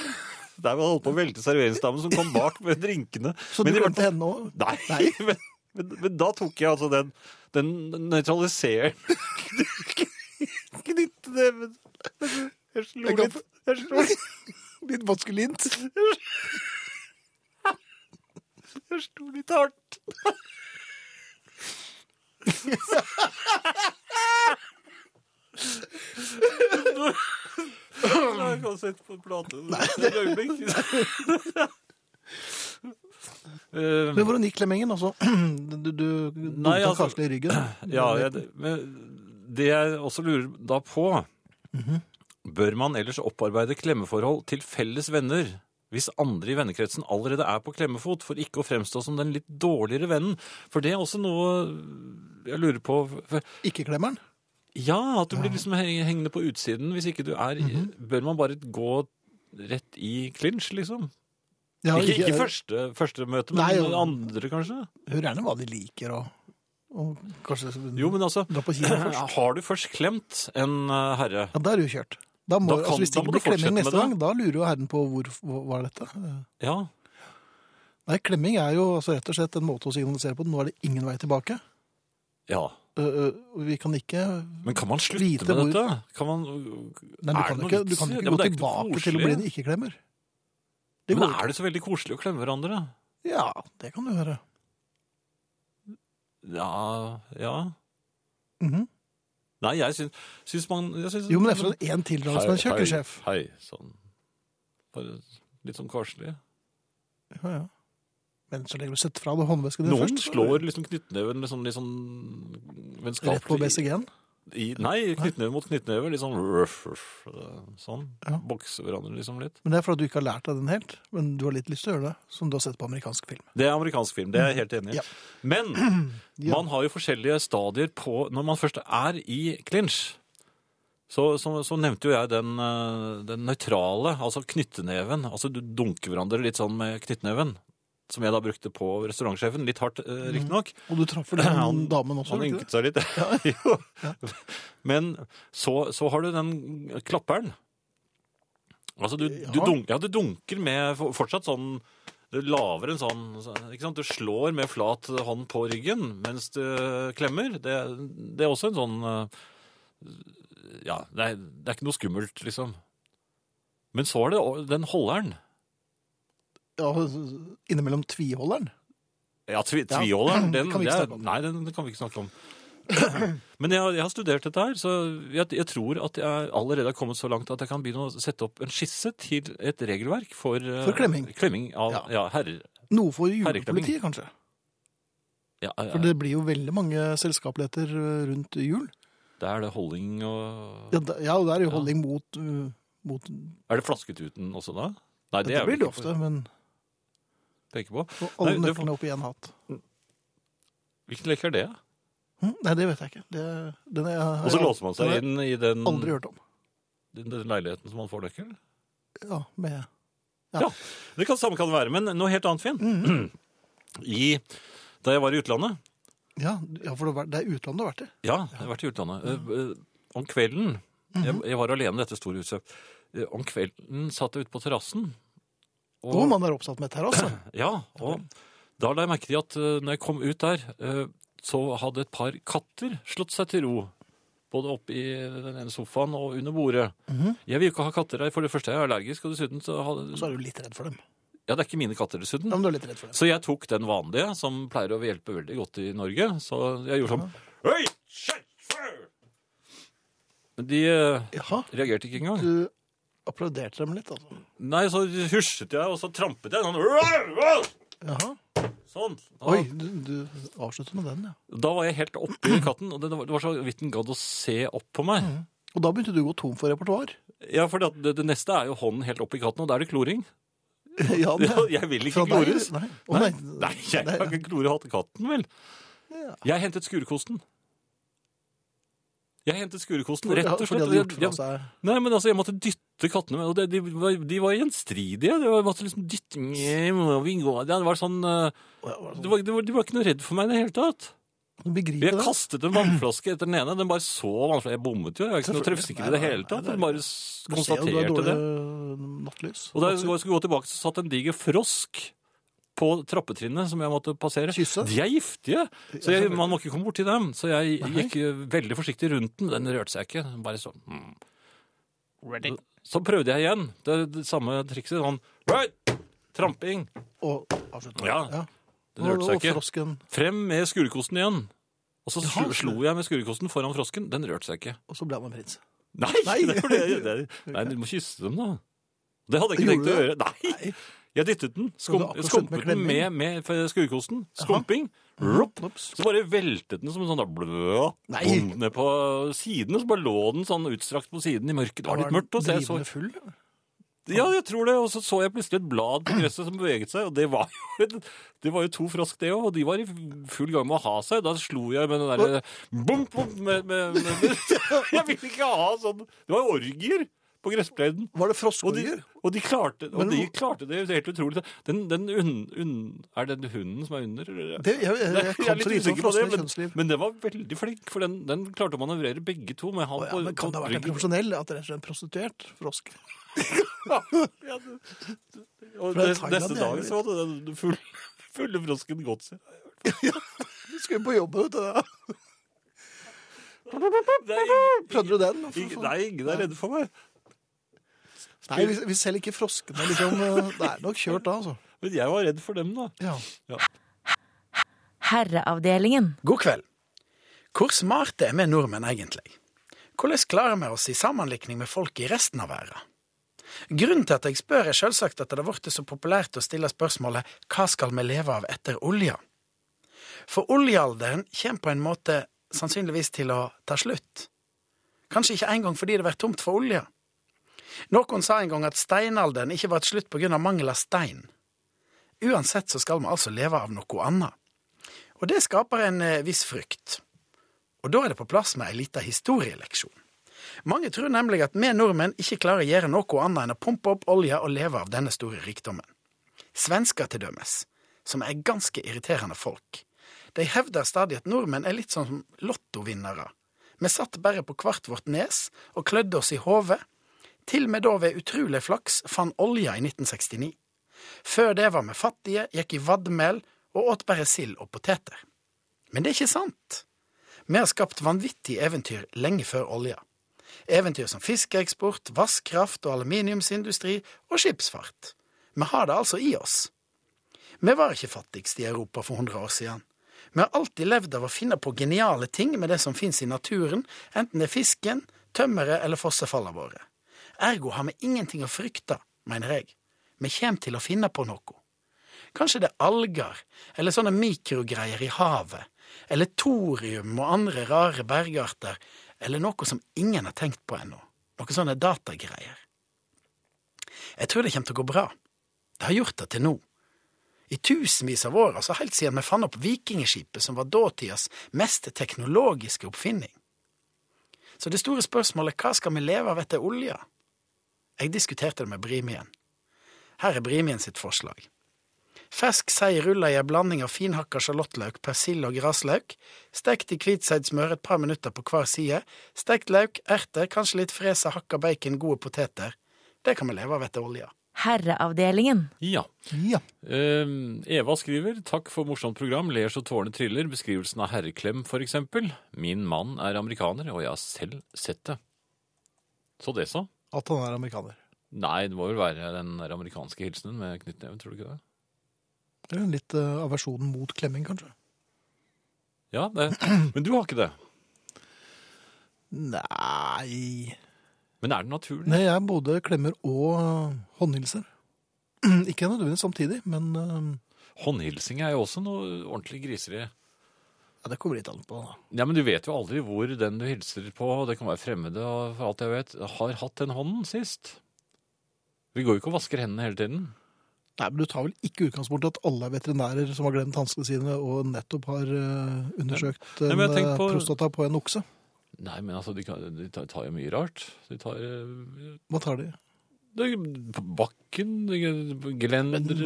Speaker 1: Der var det holdt på å velte serveringsdamen som kom bak med drinkene.
Speaker 2: Så du
Speaker 1: i hvert
Speaker 2: glemte
Speaker 1: fall-
Speaker 2: henne òg?
Speaker 1: Nei, Men, men, men da tok jeg altså den, den nøytraliserende Knytte det men, men Jeg slo
Speaker 2: Jeg kan-
Speaker 1: litt. Jeg slo,
Speaker 2: Litt maskulint.
Speaker 1: jeg slo litt hardt. Jeg kan sette på en plate et øyeblikk. Eh,
Speaker 2: Men hvordan gikk klemmingen, altså? Du, du, du
Speaker 1: Nei,
Speaker 2: tok
Speaker 1: altså-
Speaker 2: Karsten i ryggen?
Speaker 1: Ja, jeg, men det jeg også lurer da på
Speaker 2: Mhm.
Speaker 1: Bør man ellers opparbeide klemmeforhold til felles venner hvis andre i vennekretsen allerede er på klemmefot, for ikke å fremstå som den litt dårligere vennen? For det er også noe jeg lurer på. For,
Speaker 2: Ikke-klemmeren?
Speaker 1: ja, at du blir liksom heng- hengende på utsiden hvis ikke du er
Speaker 2: Mhm.
Speaker 1: Bør man bare gå rett i clinch, liksom?
Speaker 2: Ja,
Speaker 1: ikke ikke første, første møte, men
Speaker 2: Nei, jo.
Speaker 1: andre, kanskje?
Speaker 2: Hør gjerne hva de liker, og, og kanskje
Speaker 1: Jo, men altså
Speaker 2: dra på kino først.
Speaker 1: Har du først klemt en eh, herre
Speaker 2: Ja, da er du kjørt. Da må,
Speaker 1: Da kan-
Speaker 2: altså, hvis
Speaker 1: da
Speaker 2: det
Speaker 1: må du
Speaker 2: ikke blir klemming
Speaker 1: fortsette med
Speaker 2: neste
Speaker 1: det.
Speaker 2: gang, da lurer jo herren på hvor, hva hva er dette
Speaker 1: Ja,
Speaker 2: Nei, klemming er jo altså, rett og slett en måte å signalisere på. Nå er det ingen vei tilbake.
Speaker 1: Ja,
Speaker 2: Øh, øh, vi kan ikke
Speaker 1: men kan man slutte
Speaker 2: Vite
Speaker 1: med
Speaker 2: hvor-
Speaker 1: dette? Kan man,
Speaker 2: Nei, du
Speaker 1: Er
Speaker 2: kan
Speaker 1: det noe
Speaker 2: jo ikke, du kan
Speaker 1: vits i
Speaker 2: jo
Speaker 1: det? Ja,
Speaker 2: ikke
Speaker 1: men det
Speaker 2: gå
Speaker 1: er ikke noe
Speaker 2: tilbake til å
Speaker 1: koselig.
Speaker 2: bli en ikke-klemmer. Det
Speaker 1: Men
Speaker 2: går ikke.
Speaker 1: er det så veldig koselig å klemme hverandre?
Speaker 2: Ja, det kan du høre.
Speaker 1: Ja, ja.
Speaker 2: Mhm.
Speaker 1: Nei, jeg syns, syns man jeg syns,
Speaker 2: Jo, men det er fra en tildragelse med en
Speaker 1: Hei,
Speaker 2: kjøkkensjef.
Speaker 1: Hei, hei, sånn. Bare litt sånn koselig.
Speaker 2: Ja, ja. Men så lenge du setter fra deg håndvesken din
Speaker 1: Noen
Speaker 2: først så-
Speaker 1: slår liksom knyttneven med sånn litt sånn vennskapelig
Speaker 2: Rett på BCG-en.
Speaker 1: i- Nei, knyttneve mot knyttneve. Litt sånn ruff, ruff, sånn.
Speaker 2: Ja.
Speaker 1: Bokse hverandre liksom litt.
Speaker 2: Men det er fordi du ikke har lært deg den helt, men du har litt lyst til å gjøre det, som du har sett på amerikansk film.
Speaker 1: Det er amerikansk film, det er jeg helt enig i.
Speaker 2: Ja.
Speaker 1: Men
Speaker 2: Ja.
Speaker 1: man har jo forskjellige stadier på Når man først er i clinch, så, så, så nevnte jo jeg den, eh, den nøytrale, altså knytteneven. Altså du dunker hverandre litt sånn med knyttneven. Som jeg da brukte på restaurantsjefen. Litt hardt, eh, riktignok.
Speaker 2: Og du traff vel den
Speaker 1: Han-
Speaker 2: damen også,
Speaker 1: Han
Speaker 2: gjorde du ikke
Speaker 1: ynket seg litt. Jo. Men så, så har du den klapperen. Altså, du, du,
Speaker 2: Ja.
Speaker 1: dunker, ja, du dunker med for- fortsatt sånn Du laver en sånn ikke sant? Du slår med flat hånd på ryggen mens du klemmer. Det, det er også en sånn eh, Ja, det er, det er ikke noe skummelt, liksom. Men så er det o- den holderen.
Speaker 2: det? Ja, innimellom tviholderen.
Speaker 1: Ja, tvi,
Speaker 2: Ja,
Speaker 1: tviholderen,
Speaker 2: det
Speaker 1: den,
Speaker 2: kan vi
Speaker 1: det
Speaker 2: ikke
Speaker 1: er-
Speaker 2: snakke om.
Speaker 1: Nei, den, den kan vi ikke snakke om. Men jeg, har- jeg har studert dette her, så jeg, jeg tror at jeg allerede har kommet så langt at jeg kan begynne å sette opp en skisse til et regelverk for, eh,
Speaker 2: For klemming.
Speaker 1: av ja.
Speaker 2: Ja.
Speaker 1: herrer.
Speaker 2: Noe for
Speaker 1: Herreklemming.
Speaker 2: julepolitiet, kanskje.
Speaker 1: Ja, eh, ja,
Speaker 2: For det blir jo veldig mange selskapeligheter eh, rundt jul.
Speaker 1: det er det holding og
Speaker 2: Ja, da- ja og det er jo
Speaker 1: Ja.
Speaker 2: holdning mot, uh, mot
Speaker 1: Er det flasketuten også da? Nei, det,
Speaker 2: Dette
Speaker 1: er vel
Speaker 2: blir det
Speaker 1: ikke
Speaker 2: ofte, men
Speaker 1: å tenke på.
Speaker 2: og alle
Speaker 1: Nei, det får-
Speaker 2: nøklene opp i én hatt.
Speaker 1: Hvilken lek er det?
Speaker 2: Hm? Nei, det vet jeg ikke. Det, den er,
Speaker 1: Og så låser man
Speaker 2: den
Speaker 1: seg
Speaker 2: har jeg
Speaker 1: inn i den,
Speaker 2: Aldri hørt om.
Speaker 1: den, den leiligheten som man får nøkkel?
Speaker 2: Ja, med
Speaker 1: Det kan, samme kan det være, men noe helt annet, Finn.
Speaker 2: Mhm.
Speaker 1: I, da jeg var i utlandet,
Speaker 2: Ja, ja for det var- det er utlandet du har vært i.
Speaker 1: Ja, jeg har vært i utlandet. Eh, eh, Om kvelden jeg, jeg var alene i dette store huset. Eh, Om kvelden satt jeg ute på terrassen. og-
Speaker 2: Hvor man er oppsatt med terrasse.
Speaker 1: Ja, og da la jeg merke til at eh, når jeg kom ut der, eh, så hadde et par katter slått seg til ro. Både oppe i den ene sofaen og under bordet. Jeg vil jo ikke ha katter der, for det første er jeg allergisk, og dessuten så
Speaker 2: Så
Speaker 1: hadde...
Speaker 2: er du litt redd for dem.
Speaker 1: Ja, det er ikke mine katter dessuten.
Speaker 2: Ja, men du er litt redd for dem.
Speaker 1: Så jeg tok den vanlige, som pleier å hjelpe veldig godt i Norge. Så jeg gjorde sånn Oi, shit, før! Men de eh,
Speaker 2: Jaha.
Speaker 1: reagerte ikke engang.
Speaker 2: Du applauderte dem litt, altså.
Speaker 1: Nei, så husjet jeg, og så trampet jeg sånn.
Speaker 2: Jaha.
Speaker 1: Sånn. Da,
Speaker 2: Oi, du, du avslutter med den, ja.
Speaker 1: da var jeg helt oppi katten, og det var, det var så vidt den gadd å se opp på meg.
Speaker 2: Og da begynte du å gå tom for repertoar.
Speaker 1: Ja, for det, det, det neste er jo hånden helt oppi katten, og da er det kloring.
Speaker 2: ja, det-
Speaker 1: Ja, jeg vil ikke
Speaker 2: Fra deg,
Speaker 1: klores.
Speaker 2: Nei. Å,
Speaker 1: Nei,
Speaker 2: nei.
Speaker 1: nei, jeg kan ikke klore hatt katten, vel.
Speaker 2: Ja.
Speaker 1: Jeg hentet skurkosten. Jeg hentet skurkosten,
Speaker 2: Fordi-
Speaker 1: rett og
Speaker 2: Fordi
Speaker 1: slett.
Speaker 2: de hadde gjort
Speaker 1: Jeg-
Speaker 2: fra seg
Speaker 1: Nei, men altså, jeg måtte dytte kattene med, og det, de, var, de var gjenstridige. Det var, jeg måtte liksom dytte Nei, må vi gå? Det var sånn eh,
Speaker 2: Å, ja, var det
Speaker 1: det var, det var, De var ikke noe redd for meg i det hele tatt.
Speaker 2: sånn- Du begriper
Speaker 1: Jeg
Speaker 2: det.
Speaker 1: kastet en vannflaske etter den ene. Den bare så vannflaske. Jeg bommet jo. Jeg er ikke noe treffsikker i det hele tatt. Jeg bare s-
Speaker 2: Du ser jo du har
Speaker 1: konstaterte
Speaker 2: dårlig
Speaker 1: det.
Speaker 2: nattlys.
Speaker 1: Og da jeg skulle gå tilbake, så satt en diger frosk på trappetrinnet som jeg måtte passere.
Speaker 2: Kysse?
Speaker 1: De er giftige! Så jeg, man må ikke komme borti dem. Så jeg gikk veldig forsiktig rundt den. Den rørte seg ikke. Den Bare sånn mm. Så prøvde jeg igjen. Det, er det samme trikset. Sånn right! Tramping.
Speaker 2: Og avslutter.
Speaker 1: Ja, Den rørte seg
Speaker 2: Og
Speaker 1: ikke.
Speaker 2: frosken
Speaker 1: Frem med skurkosten igjen. Og så
Speaker 2: Jaha.
Speaker 1: slo, slo jeg med skurkosten foran frosken. Den rørte seg ikke.
Speaker 2: Og så ble han en prins.
Speaker 1: Nei!
Speaker 2: Nei.
Speaker 1: Det var det, jeg- det, nei du må kysse dem, da. Det hadde jeg ikke
Speaker 2: Gjorde
Speaker 1: tenkt å
Speaker 2: du
Speaker 1: gjøre. Nei! Jeg dyttet den.
Speaker 2: Så du
Speaker 1: Skum,
Speaker 2: akkurat slutt med
Speaker 1: skumpet den med, med skurkosten. Skumping. Rupp.
Speaker 2: Ops.
Speaker 1: Så bare veltet den som en sånn da, blø,
Speaker 2: Nei.
Speaker 1: bom, ned på siden, og så bare lå den sånn utstrakt på siden i mørket. Det var litt mørkt. Og så jeg, så,
Speaker 2: Drivende full.
Speaker 1: ja, jeg tror det, og så så jeg plutselig et blad på gresset som beveget seg, og det var jo, det var jo to frosk, det òg, og de var i full gang med å ha seg. Da slo jeg med den derre bom, bom, med, med, med, med Jeg ville ikke ha sånn Det var orgier på gresspletten.
Speaker 2: Var
Speaker 1: Og
Speaker 2: det
Speaker 1: de,
Speaker 2: froskeøyer?
Speaker 1: og, de klarte, og
Speaker 2: Men-
Speaker 1: de klarte det det er helt utrolig. Den, den unn, unn, er det den hunden som er under? eller?
Speaker 2: Det, jeg, jeg,
Speaker 1: Nei,
Speaker 2: jeg
Speaker 1: jeg er
Speaker 2: kan så
Speaker 1: litt
Speaker 2: lite om
Speaker 1: usikker på det,
Speaker 2: froskene
Speaker 1: men,
Speaker 2: kjønnsliv.
Speaker 1: men den var veldig flink, for den, den klarte å manøvrere begge to. Med han
Speaker 2: Å, ja,
Speaker 1: på-
Speaker 2: men kan det ha
Speaker 1: på
Speaker 2: vært en
Speaker 1: ryggen.
Speaker 2: profesjonell? At det er en prostituert frosk?
Speaker 1: Ja, det- det- og
Speaker 2: Fra
Speaker 1: det, neste
Speaker 2: Thailand, det er
Speaker 1: dag
Speaker 2: jo
Speaker 1: så hadde den full, fulle frosken gått seg.
Speaker 2: Du skulle på jobb, vet du.
Speaker 1: Det er ingen,
Speaker 2: Prøvde du den?
Speaker 1: ingen, nei, ingen er redde for meg.
Speaker 2: Nei, vi, vi selger ikke froskene, liksom. eh, Det er nok kjørt da, altså.
Speaker 1: Men jeg var redd for dem, da.
Speaker 2: Ja.
Speaker 4: Herreavdelingen.
Speaker 5: God kveld. Hvor smarte er vi nordmenn egentlig? Hvordan klarer vi oss i sammenlikning med folk i resten av verden? Grunnen til at jeg spør, er selvsagt at det har blitt så populært å stille spørsmålet hva skal vi leve av etter olja? For oljealderen kommer på en måte sannsynligvis til å ta slutt. Kanskje ikke engang fordi det blir tomt for olje. Noen sa en gang at steinalderen ikke var et slutt på grunn av mangel av stein. Uansett så skal vi altså leve av noe annet. Og det skaper en eh, viss frykt. Og da er det på plass med ei lita historieleksjon. Mange tror nemlig at vi nordmenn ikke klarer å gjøre noe annet enn å pumpe opp olje og leve av denne store rikdommen. Svensker til dømes, som er ganske irriterende folk. De hevder stadig at nordmenn er litt sånn som lottovinnere. Vi satt bare på hvert vårt nes og klødde oss i hodet, til vi da ved utrolig flaks fant olja i 1969. Før det var vi fattige, gikk i vadmel og åt bare sild og poteter. Men det er ikke sant. Vi har skapt vanvittige eventyr lenge før olja. Eventyr som fiskeeksport, vannkraft og aluminiumsindustri og skipsfart. Vi har det altså i oss. Vi var ikke fattigst i Europa for 100 år siden. Vi har alltid levd av å finne på geniale ting med det som finnes i naturen, enten det er fisken, tømmeret eller fossefallene våre. Ergo har vi ingenting å frykte, mener jeg. Vi kommer til å finne på noe. Kanskje det er alger, eller sånne mikrogreier i havet, eller thorium og andre rare bergarter, eller noe som ingen har tenkt på ennå. Noen sånne datagreier. Jeg tror det kommer til å gå bra. Det har gjort det til nå. I tusenvis av år, altså helt siden vi fant opp vikingskipet, som var dåtidas mest teknologiske oppfinning. Så det store spørsmålet hva skal vi leve av etter olja? Jeg diskuterte det med Brimien. Her er Brimien sitt forslag. Fersk sei rulla i ei blanding av finhakka sjalottløk, persille og grasløk, stekt i hvitseidsmør et par minutter på hver side, stekt løk, erter, kanskje litt fresa hakka bacon, gode poteter. Det kan vi leve av etter olja.
Speaker 4: Herreavdelingen.
Speaker 1: Ja.
Speaker 2: ja.
Speaker 1: Ehm, Eva skriver 'Takk for morsomt program. Ler så tårene triller'. Beskrivelsen av herreklem, for eksempel. Min mann er amerikaner, og jeg har selv sett det. Så det, så.
Speaker 2: At han er amerikaner.
Speaker 1: Nei, det må vel være den der amerikanske hilsenen med knyttneven, tror du ikke det?
Speaker 2: Det er jo en litt eh, aversjon mot klemming, kanskje.
Speaker 1: Ja, det. Men du har ikke det.
Speaker 2: Nei
Speaker 1: Men er det naturlig?
Speaker 2: Nei, jeg er både klemmer og øh, håndhilser. Ikke nødvendigvis samtidig, men øh,
Speaker 1: Håndhilsing er jo også noe ordentlig griseri.
Speaker 2: ja, det kommer litt an på. da.
Speaker 1: Ja, men du vet jo aldri hvor den du hilser på, det kan være fremmede og for alt jeg vet, har hatt den hånden sist. Vi går jo ikke og vasker hendene hele tiden.
Speaker 2: Nei, men Du tar vel ikke utgangspunkt i at alle er veterinærer som har glemt hanskene sine og nettopp har øh, undersøkt
Speaker 1: Nei,
Speaker 2: en
Speaker 1: men jeg tenker
Speaker 2: øh,
Speaker 1: på-
Speaker 2: prostata på en okse?
Speaker 1: Nei, men altså, de, kan, de tar- tar jo mye rart. De tar eh,
Speaker 2: Hva tar de?
Speaker 1: det er på bakken, det er gelender,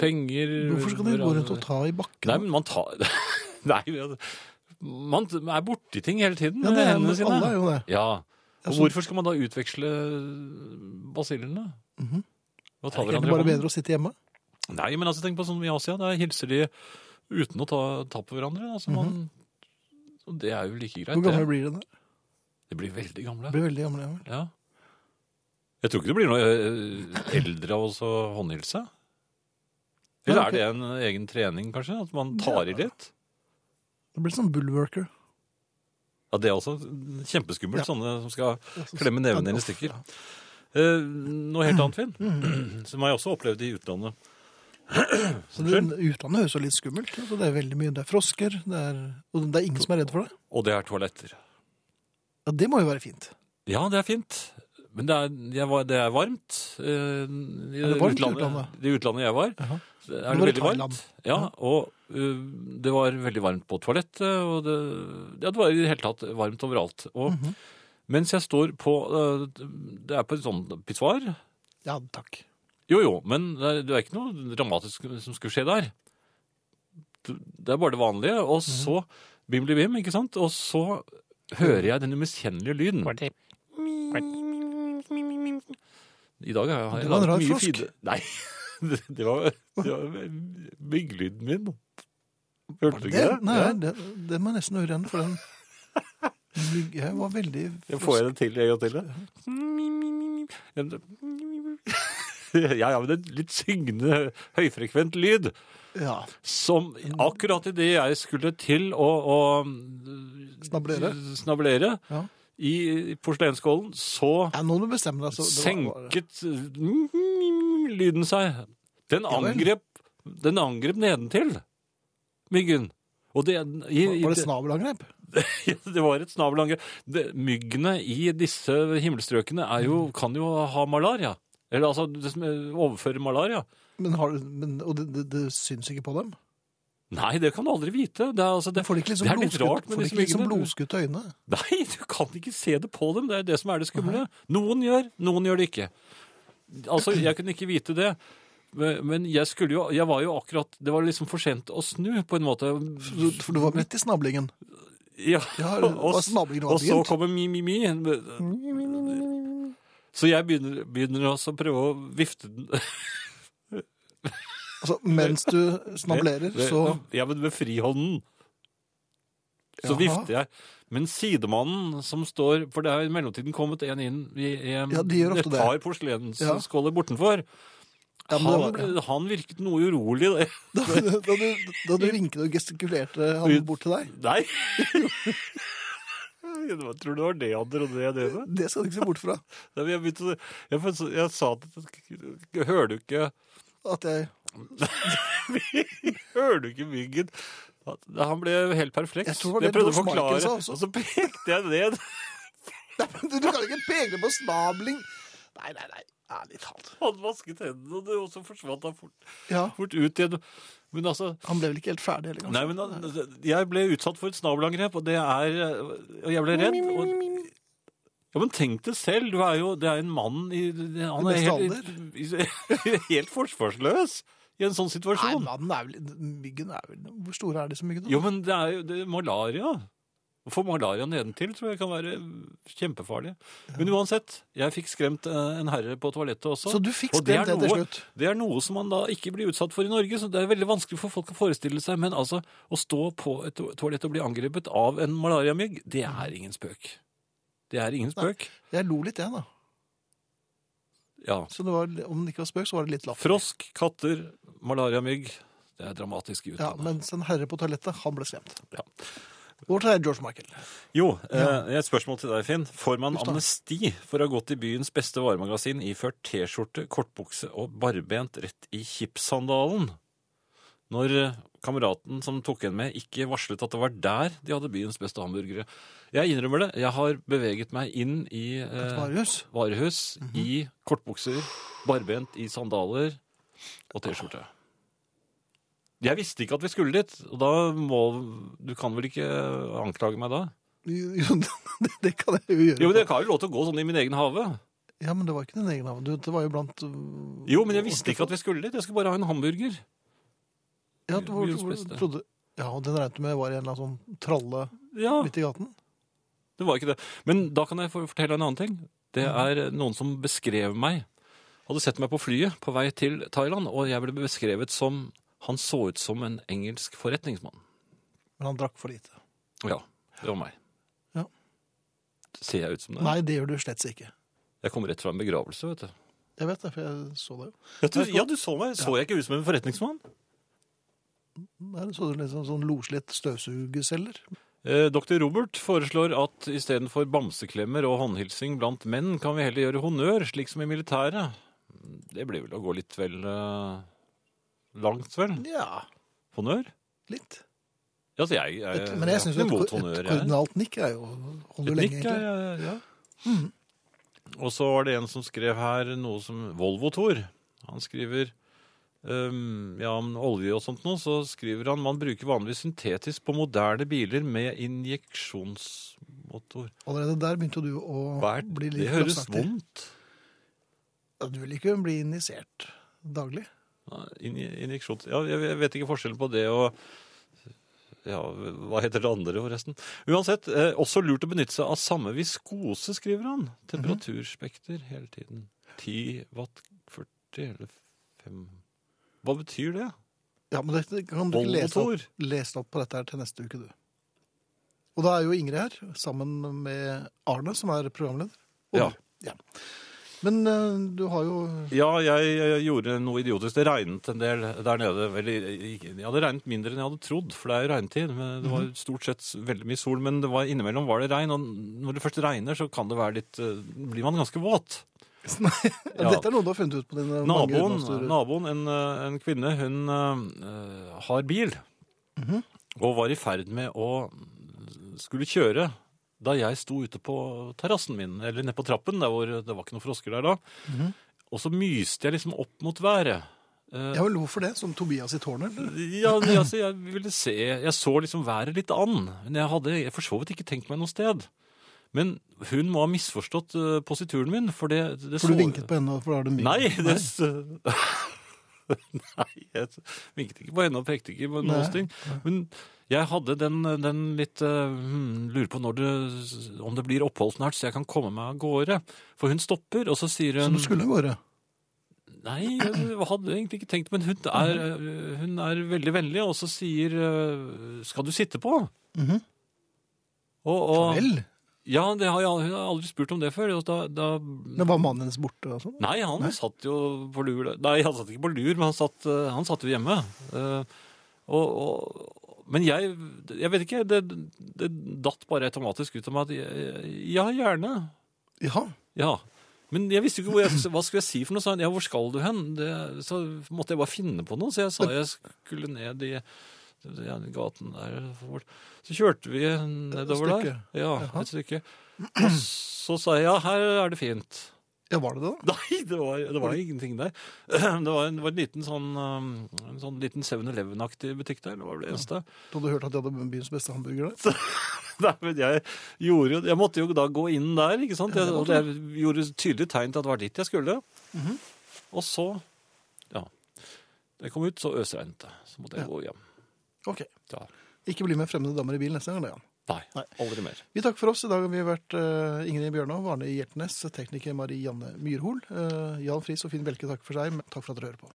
Speaker 1: penger
Speaker 2: Hvorfor skal de gå rundt og ta i
Speaker 1: Nei,
Speaker 2: bakken?
Speaker 1: men man tar Nei, men man er borti ting hele tiden
Speaker 2: Ja,
Speaker 1: med
Speaker 2: det er,
Speaker 1: hendene sine.
Speaker 2: alle er jo det.
Speaker 1: Ja. Og
Speaker 2: Altså-
Speaker 1: hvorfor skal man da utveksle basillene?
Speaker 2: Mhm.
Speaker 1: Og ta
Speaker 2: Er det
Speaker 1: hverandre
Speaker 2: ikke
Speaker 1: i
Speaker 2: bare
Speaker 1: hånden?
Speaker 2: bedre å sitte hjemme?
Speaker 1: Nei, men altså, tenk på sånn i Asia, der hilser de uten å ta, ta på hverandre. Altså, man, og det er jo like greit.
Speaker 2: Mhm. Hvor gamle
Speaker 1: det.
Speaker 2: blir de da?
Speaker 1: De blir veldig gamle.
Speaker 2: De Blir veldig gamle, ja. vel.
Speaker 1: Ja. Jeg tror ikke du blir noe eh, eldre av å håndhilse. Eller
Speaker 2: Nei,
Speaker 1: er
Speaker 2: ok.
Speaker 1: det en egen trening, kanskje? At man tar i litt?
Speaker 2: Det blir sånn bullworker.
Speaker 1: Ja, Det er også kjempeskummelt,
Speaker 2: Ja.
Speaker 1: sånne som skal klemme neven din i stykker. Eh, noe helt annet, Finn, som jeg også opplevd i utlandet.
Speaker 2: Mm. Så det, utlandet høres jo litt skummelt. Altså, det er veldig mye. Det er frosker, det er, og det er ingen som er redd for det.
Speaker 1: Og det er toaletter.
Speaker 2: Ja, Det må jo være fint.
Speaker 1: Ja, det er fint. Men det er, jeg var, det er varmt. eh, i
Speaker 2: Er det varmt i utlandet?
Speaker 1: I utlandet jeg var.
Speaker 2: Jaha.
Speaker 1: så
Speaker 2: Da
Speaker 1: Er det
Speaker 2: var det
Speaker 1: veldig
Speaker 2: Thailand.
Speaker 1: varmt? Ja, og eh, det var veldig varmt på toalettet, og det, ja, det var i det hele tatt varmt overalt. Og
Speaker 2: Mhm.
Speaker 1: mens jeg står på eh, Det er på en sånn pissoar.
Speaker 2: Ja, takk.
Speaker 1: Jo, jo, men det er- det er ikke noe dramatisk som skulle skje der. Det er bare det vanlige, og
Speaker 2: Mhm.
Speaker 1: så bim, blim, bim, ikke sant? Og så hører jeg den umiskjennelige lyden. I dag har jeg
Speaker 2: Det var en
Speaker 1: laget
Speaker 2: rar
Speaker 1: mye
Speaker 2: frosk.
Speaker 1: fine- Nei, det, det var, det var mygglyden min. Hørte du
Speaker 2: Det,
Speaker 1: ikke det?
Speaker 2: nei,
Speaker 1: Ja.
Speaker 2: det, det må jeg nesten høre igjen, for den den blir- Jeg var veldig
Speaker 1: Jeg får jeg det til en gang til? da? Ja, ja, men det er en litt syngende, høyfrekvent lyd.
Speaker 2: Ja,
Speaker 1: Som akkurat idet jeg skulle til å, å
Speaker 2: Snablere?
Speaker 1: snablere
Speaker 2: Ja.
Speaker 1: i porselenskålen, så
Speaker 2: ja nå må du bestemme deg. Så det var-
Speaker 1: senket lyden seg. Den
Speaker 2: Ja vel.
Speaker 1: angrep, den angrep nedentil, myggen. Og det, i,
Speaker 2: Var,
Speaker 1: i-
Speaker 2: var det snabelangrep?
Speaker 1: det var et snabelangrep. Det- Myggene i disse himmelstrøkene er jo, kan jo ha malaria. Eller altså det som overfører malaria.
Speaker 2: Men har, du- men, og det, det, det syns ikke på dem?
Speaker 1: Nei, det kan du aldri vite. Det er, altså, det,
Speaker 2: Får de ikke liksom
Speaker 1: det er litt rart
Speaker 2: blodskutt-
Speaker 1: med
Speaker 2: får de
Speaker 1: disse
Speaker 2: ikke liksom
Speaker 1: myggene.
Speaker 2: blodskutte øyne?
Speaker 1: Nei, du kan ikke se det på dem. Det er det som er det skumle. Noen gjør, noen gjør det ikke. Altså, jeg kunne ikke vite det. Men men jeg skulle jo Jeg var jo akkurat Det var liksom for sent å snu, på en måte.
Speaker 2: For du- For du var midt i snablingen?
Speaker 1: Ja,
Speaker 2: Ja, det var
Speaker 1: og, s-
Speaker 2: snabbingen var
Speaker 1: og så
Speaker 2: begynt.
Speaker 1: kommer mi-mi-mi. Så jeg begynner, begynner også å prøve å vifte den
Speaker 2: Altså, mens du snablerer,
Speaker 1: Ved-
Speaker 2: så
Speaker 1: Ja, men med frihånden. Så
Speaker 2: Jaha.
Speaker 1: vifter jeg. Men sidemannen som står For det er i mellomtiden kommet en inn i en
Speaker 2: Ja, de gjør ofte
Speaker 1: et
Speaker 2: det.
Speaker 1: par
Speaker 2: Ja.
Speaker 1: porselensskåler bortenfor.
Speaker 2: Ja, men
Speaker 1: han,
Speaker 2: det var-
Speaker 1: ble- han virket noe urolig. det-
Speaker 2: da, da, du, da du vinket og gestikulerte han bort til deg
Speaker 1: Nei! Jeg tror det var det han trodde jeg drev med.
Speaker 2: Det skal du ikke se bort fra.
Speaker 1: Nei, men Jeg, begynte, å- jeg, jeg, jeg sa at Hører du ikke
Speaker 2: At jeg
Speaker 1: Hører du ikke myggen? At- Han ble helt perfekt.
Speaker 2: Jeg tror det var det
Speaker 1: prøvde å
Speaker 2: George Michael
Speaker 1: forklare,
Speaker 2: sa
Speaker 1: og
Speaker 2: også.
Speaker 1: så pekte jeg ned.
Speaker 2: Nei, men du, du kan ikke peke på snabling! Nei, nei, nei. Ærlig talt.
Speaker 1: Han vasket hendene, og det også forsvant han fort,
Speaker 2: Ja,
Speaker 1: fort ut igjen. Men altså
Speaker 2: Han ble vel ikke helt ferdig heller,
Speaker 1: Nei,
Speaker 2: kanskje?
Speaker 1: men altså, jeg ble utsatt for et snabelangrep, og det er Og jeg ble redd. Og, ja, men tenk det selv. Du er jo Det er en mann i Han
Speaker 2: I
Speaker 1: er helt,
Speaker 2: beste
Speaker 1: helt forsvarsløs i en sånn
Speaker 2: Nei,
Speaker 1: situasjon.
Speaker 2: mannen er vel Myggen er vel Hvor store er disse myggene?
Speaker 1: Jo, men det er jo det er malaria. Å få malaria nedentil tror jeg kan være kjempefarlig. Men uansett, jeg fikk skremt eh, en herre på toalettet også.
Speaker 2: Så du fikk
Speaker 1: Og det er
Speaker 2: skremt det til
Speaker 1: noe-
Speaker 2: slutt?
Speaker 1: Det er noe som man da ikke blir utsatt for i Norge, så det er veldig vanskelig for folk å forestille seg. Men altså, å stå på et to- toalett og bli angrepet av en malariamygg, det er ingen spøk. Det er ingen spøk.
Speaker 2: Jeg lo litt, jeg, da.
Speaker 1: Ja.
Speaker 2: Så det var, om det ikke var spøk, så var det litt latter.
Speaker 1: Frosk, katter, malariamygg. Det er dramatisk i
Speaker 2: Ja,
Speaker 1: utlandet.
Speaker 2: mens en herre på toalettet, han ble skremt. Vår er George Michael.
Speaker 1: Jo, eh, et spørsmål til deg, Finn. Får man amnesti for å ha gått i byens beste varemagasin iført T-skjorte, kortbukse og barbent rett i chipssandalen? Når eh, kameraten som tok en med, ikke varslet at det var der de hadde byens beste hamburgere. Jeg innrømmer det. Jeg har beveget meg inn i
Speaker 2: Et
Speaker 1: eh,
Speaker 2: varehus.
Speaker 1: varehus i kortbukser, barbent i sandaler og T-skjorte. Jeg visste ikke at vi skulle dit, og da må Du kan vel ikke anklage meg da?
Speaker 2: Jo, det, det kan jeg jo gjøre.
Speaker 1: Jo, men Jeg har jo lov til å gå sånn i min egen hage.
Speaker 2: Ja, men det var ikke din egen navn. Du, Det var jo blant øh,
Speaker 1: Jo, men jeg visste ikke at vi skulle dit. Jeg skulle bare ha en hamburger.
Speaker 2: ja, du, hvor,
Speaker 1: byens
Speaker 2: hvor,
Speaker 1: beste.
Speaker 2: trodde, ja, og den regnet du med var en eller annen sånn tralle
Speaker 1: Ja,
Speaker 2: midt i gaten?
Speaker 1: det var ikke det. Men da kan jeg for- fortelle en annen ting. Det er noen som beskrev meg. Hadde sett meg på flyet på vei til Thailand, og jeg ble beskrevet som Han så ut som en engelsk forretningsmann.
Speaker 2: Men han drakk for lite.
Speaker 1: Ja, det var meg.
Speaker 2: Ja.
Speaker 1: Ser jeg ut som det?
Speaker 2: Nei, det gjør du slett ikke.
Speaker 1: Jeg kom rett fra en begravelse, vet du.
Speaker 2: Jeg vet det, for jeg så det jo.
Speaker 1: Ja, du, så meg. Så jeg ikke ut som en forretningsmann?
Speaker 2: Der så du liksom sånn loslitt støvsugeselger.
Speaker 1: Eh, Dr. Robert foreslår at istedenfor bamseklemmer og håndhilsing blant menn, kan vi heller gjøre honnør, slik som i militæret. Det blir vel å gå litt vel eh, langt, vel?
Speaker 2: Ja,
Speaker 1: Honnør?
Speaker 2: litt.
Speaker 1: Ja, altså, jeg, jeg,
Speaker 2: Et, men jeg syns jo
Speaker 1: er
Speaker 2: et,
Speaker 1: mot
Speaker 2: ko-
Speaker 1: honnør,
Speaker 2: et
Speaker 1: jeg.
Speaker 2: koordinalt nikk er jo holder
Speaker 1: Et
Speaker 2: lenge,
Speaker 1: nikk,
Speaker 2: egentlig. Mm.
Speaker 1: ja, ja, ja. Og så var det en som skrev her noe som Volvo-Tor. Han skriver ehm, ja, om olje og sånt nå, så skriver han man bruker vanligvis syntetisk på moderne biler med injeksjonsmotor.
Speaker 2: Allerede der begynte jo du å
Speaker 1: Hva er
Speaker 2: bli
Speaker 1: det?
Speaker 2: litt
Speaker 1: Det høres
Speaker 2: løsaktig.
Speaker 1: vondt.
Speaker 2: Ja, Du vil ikke bli injisert daglig.
Speaker 1: Ja, inje- Injeksjons... Ja, jeg jeg vet ikke forskjellen på det og ja, Hva heter det andre, forresten? Uansett, eh, også lurt å benytte seg av samme viskose, skriver
Speaker 2: Mhm.
Speaker 1: han. Temperaturspekter hele tiden. 10 watt 40 eller 5 Hva betyr det?
Speaker 2: Ja, men det kan du ikke lese opp,
Speaker 1: Volvo-Tor?
Speaker 2: lese opp på dette her til neste uke, du. Og da er jo Ingrid her, sammen med Arne, som er programleder. Og
Speaker 1: Ja.
Speaker 2: du. ja. Men eh, du har jo
Speaker 1: Ja, jeg, eh, gjorde noe idiotisk. Det regnet en del der nede. Eller, eh, ikke- ja, det regnet mindre enn jeg hadde trodd, for det er jo regntid. Men det var stort sett s- veldig mye sol, men det var, innimellom var det regn. Og når det først regner, så kan det være litt eh, Blir man ganske våt. Ja.
Speaker 2: Dette er noe du har funnet ut på dine mange
Speaker 1: Naboen,
Speaker 2: ungdomsturer.
Speaker 1: naboen en, eh, en kvinne, hun eh, har bil.
Speaker 2: Mhm.
Speaker 1: Og var i ferd med å skulle kjøre da jeg sto ute på terrassen min, eller nede på trappen, der hvor det var ikke noen frosker der da.
Speaker 2: Mhm.
Speaker 1: Og så myste jeg liksom opp mot været. Eh,
Speaker 2: Ja, vel, hvorfor det? Som Tobias i tårnet? eller?
Speaker 1: ja, men altså, jeg ville se Jeg så liksom været litt an. Men jeg hadde jeg for så vidt ikke tenkt meg noe sted. Men hun må ha misforstått eh, posituren min, for det, det
Speaker 2: For du vinket på henne, og for da har du mye.
Speaker 1: Nei, det s- Nei, jeg vinket ikke på henne og pekte ikke på noen
Speaker 2: Nei,
Speaker 1: ting. Men jeg hadde den, den litt eh, hmm, Lurer på når det, om det blir opphold snart, så jeg kan komme meg av gårde. For hun stopper, og så sier
Speaker 2: Som
Speaker 1: hun
Speaker 2: du skulle av gårde.
Speaker 1: Nei, jeg hadde egentlig ikke tenkt, men hun er, øh, hun er veldig vennlig, og så sier øh, Skal du sitte på?
Speaker 2: Mhm.
Speaker 1: og, og,
Speaker 2: Vel,
Speaker 1: Ja, det har jeg, al- hun har aldri spurt om det før. Og da, da,
Speaker 2: men var mannen hennes borte og sånn?
Speaker 1: nei, han satt jo på lur der. Nei, han satt ikke på lur, men han satt, øh, han satt jo hjemme. Eh, og, og, men jeg, jeg vet ikke, det, det datt bare automatisk ut av meg at jeg- Ja, gjerne.
Speaker 2: Ja.
Speaker 1: Ja, men jeg visste jo ikke hvor jeg, hva skulle jeg si for noe. Sa han, ja, hvor skal du hen? Det, så måtte jeg bare finne på noe, så jeg sa jeg skulle ned i ja, gaten der. bort. Så kjørte vi nedover der.
Speaker 2: stykke.
Speaker 1: Ja,
Speaker 2: Jaha.
Speaker 1: et stykke. Og så sa jeg, ja, her er det fint.
Speaker 2: ja, var det det? da?
Speaker 1: Nei, det var, det var ingenting der. Det var en, det var en liten sånn, um, en sånn liten 7-Eleven-aktig butikk der, det var det eneste.
Speaker 2: Du hadde hørt at de hadde byens beste hamburger der?
Speaker 1: Nei, men jeg, gjorde, jo- jeg måtte jo da gå inn der, ikke sant?
Speaker 2: Ja,
Speaker 1: Jeg,
Speaker 2: det
Speaker 1: og
Speaker 2: måtte Mhm.
Speaker 1: jeg gjorde tydelig tegn til at det var dit jeg skulle. Og så, ja, da jeg kom ut, så øsregnet det. Så måtte jeg
Speaker 2: Ja.
Speaker 1: gå hjem.
Speaker 2: Ok.
Speaker 1: Ja.
Speaker 2: Ikke bli med fremmede damer i bil neste gang, det, Jan.
Speaker 1: Nei,
Speaker 2: Nei.
Speaker 1: aldri mer.
Speaker 2: Vi takker for oss. I dag har vi vært eh, Ingrid Bjørnov, Arne Hjertnes, tekniker Marianne Myrhol, eh, Jan Friis og Finn Belke takker for seg. men Takk for at dere hører på.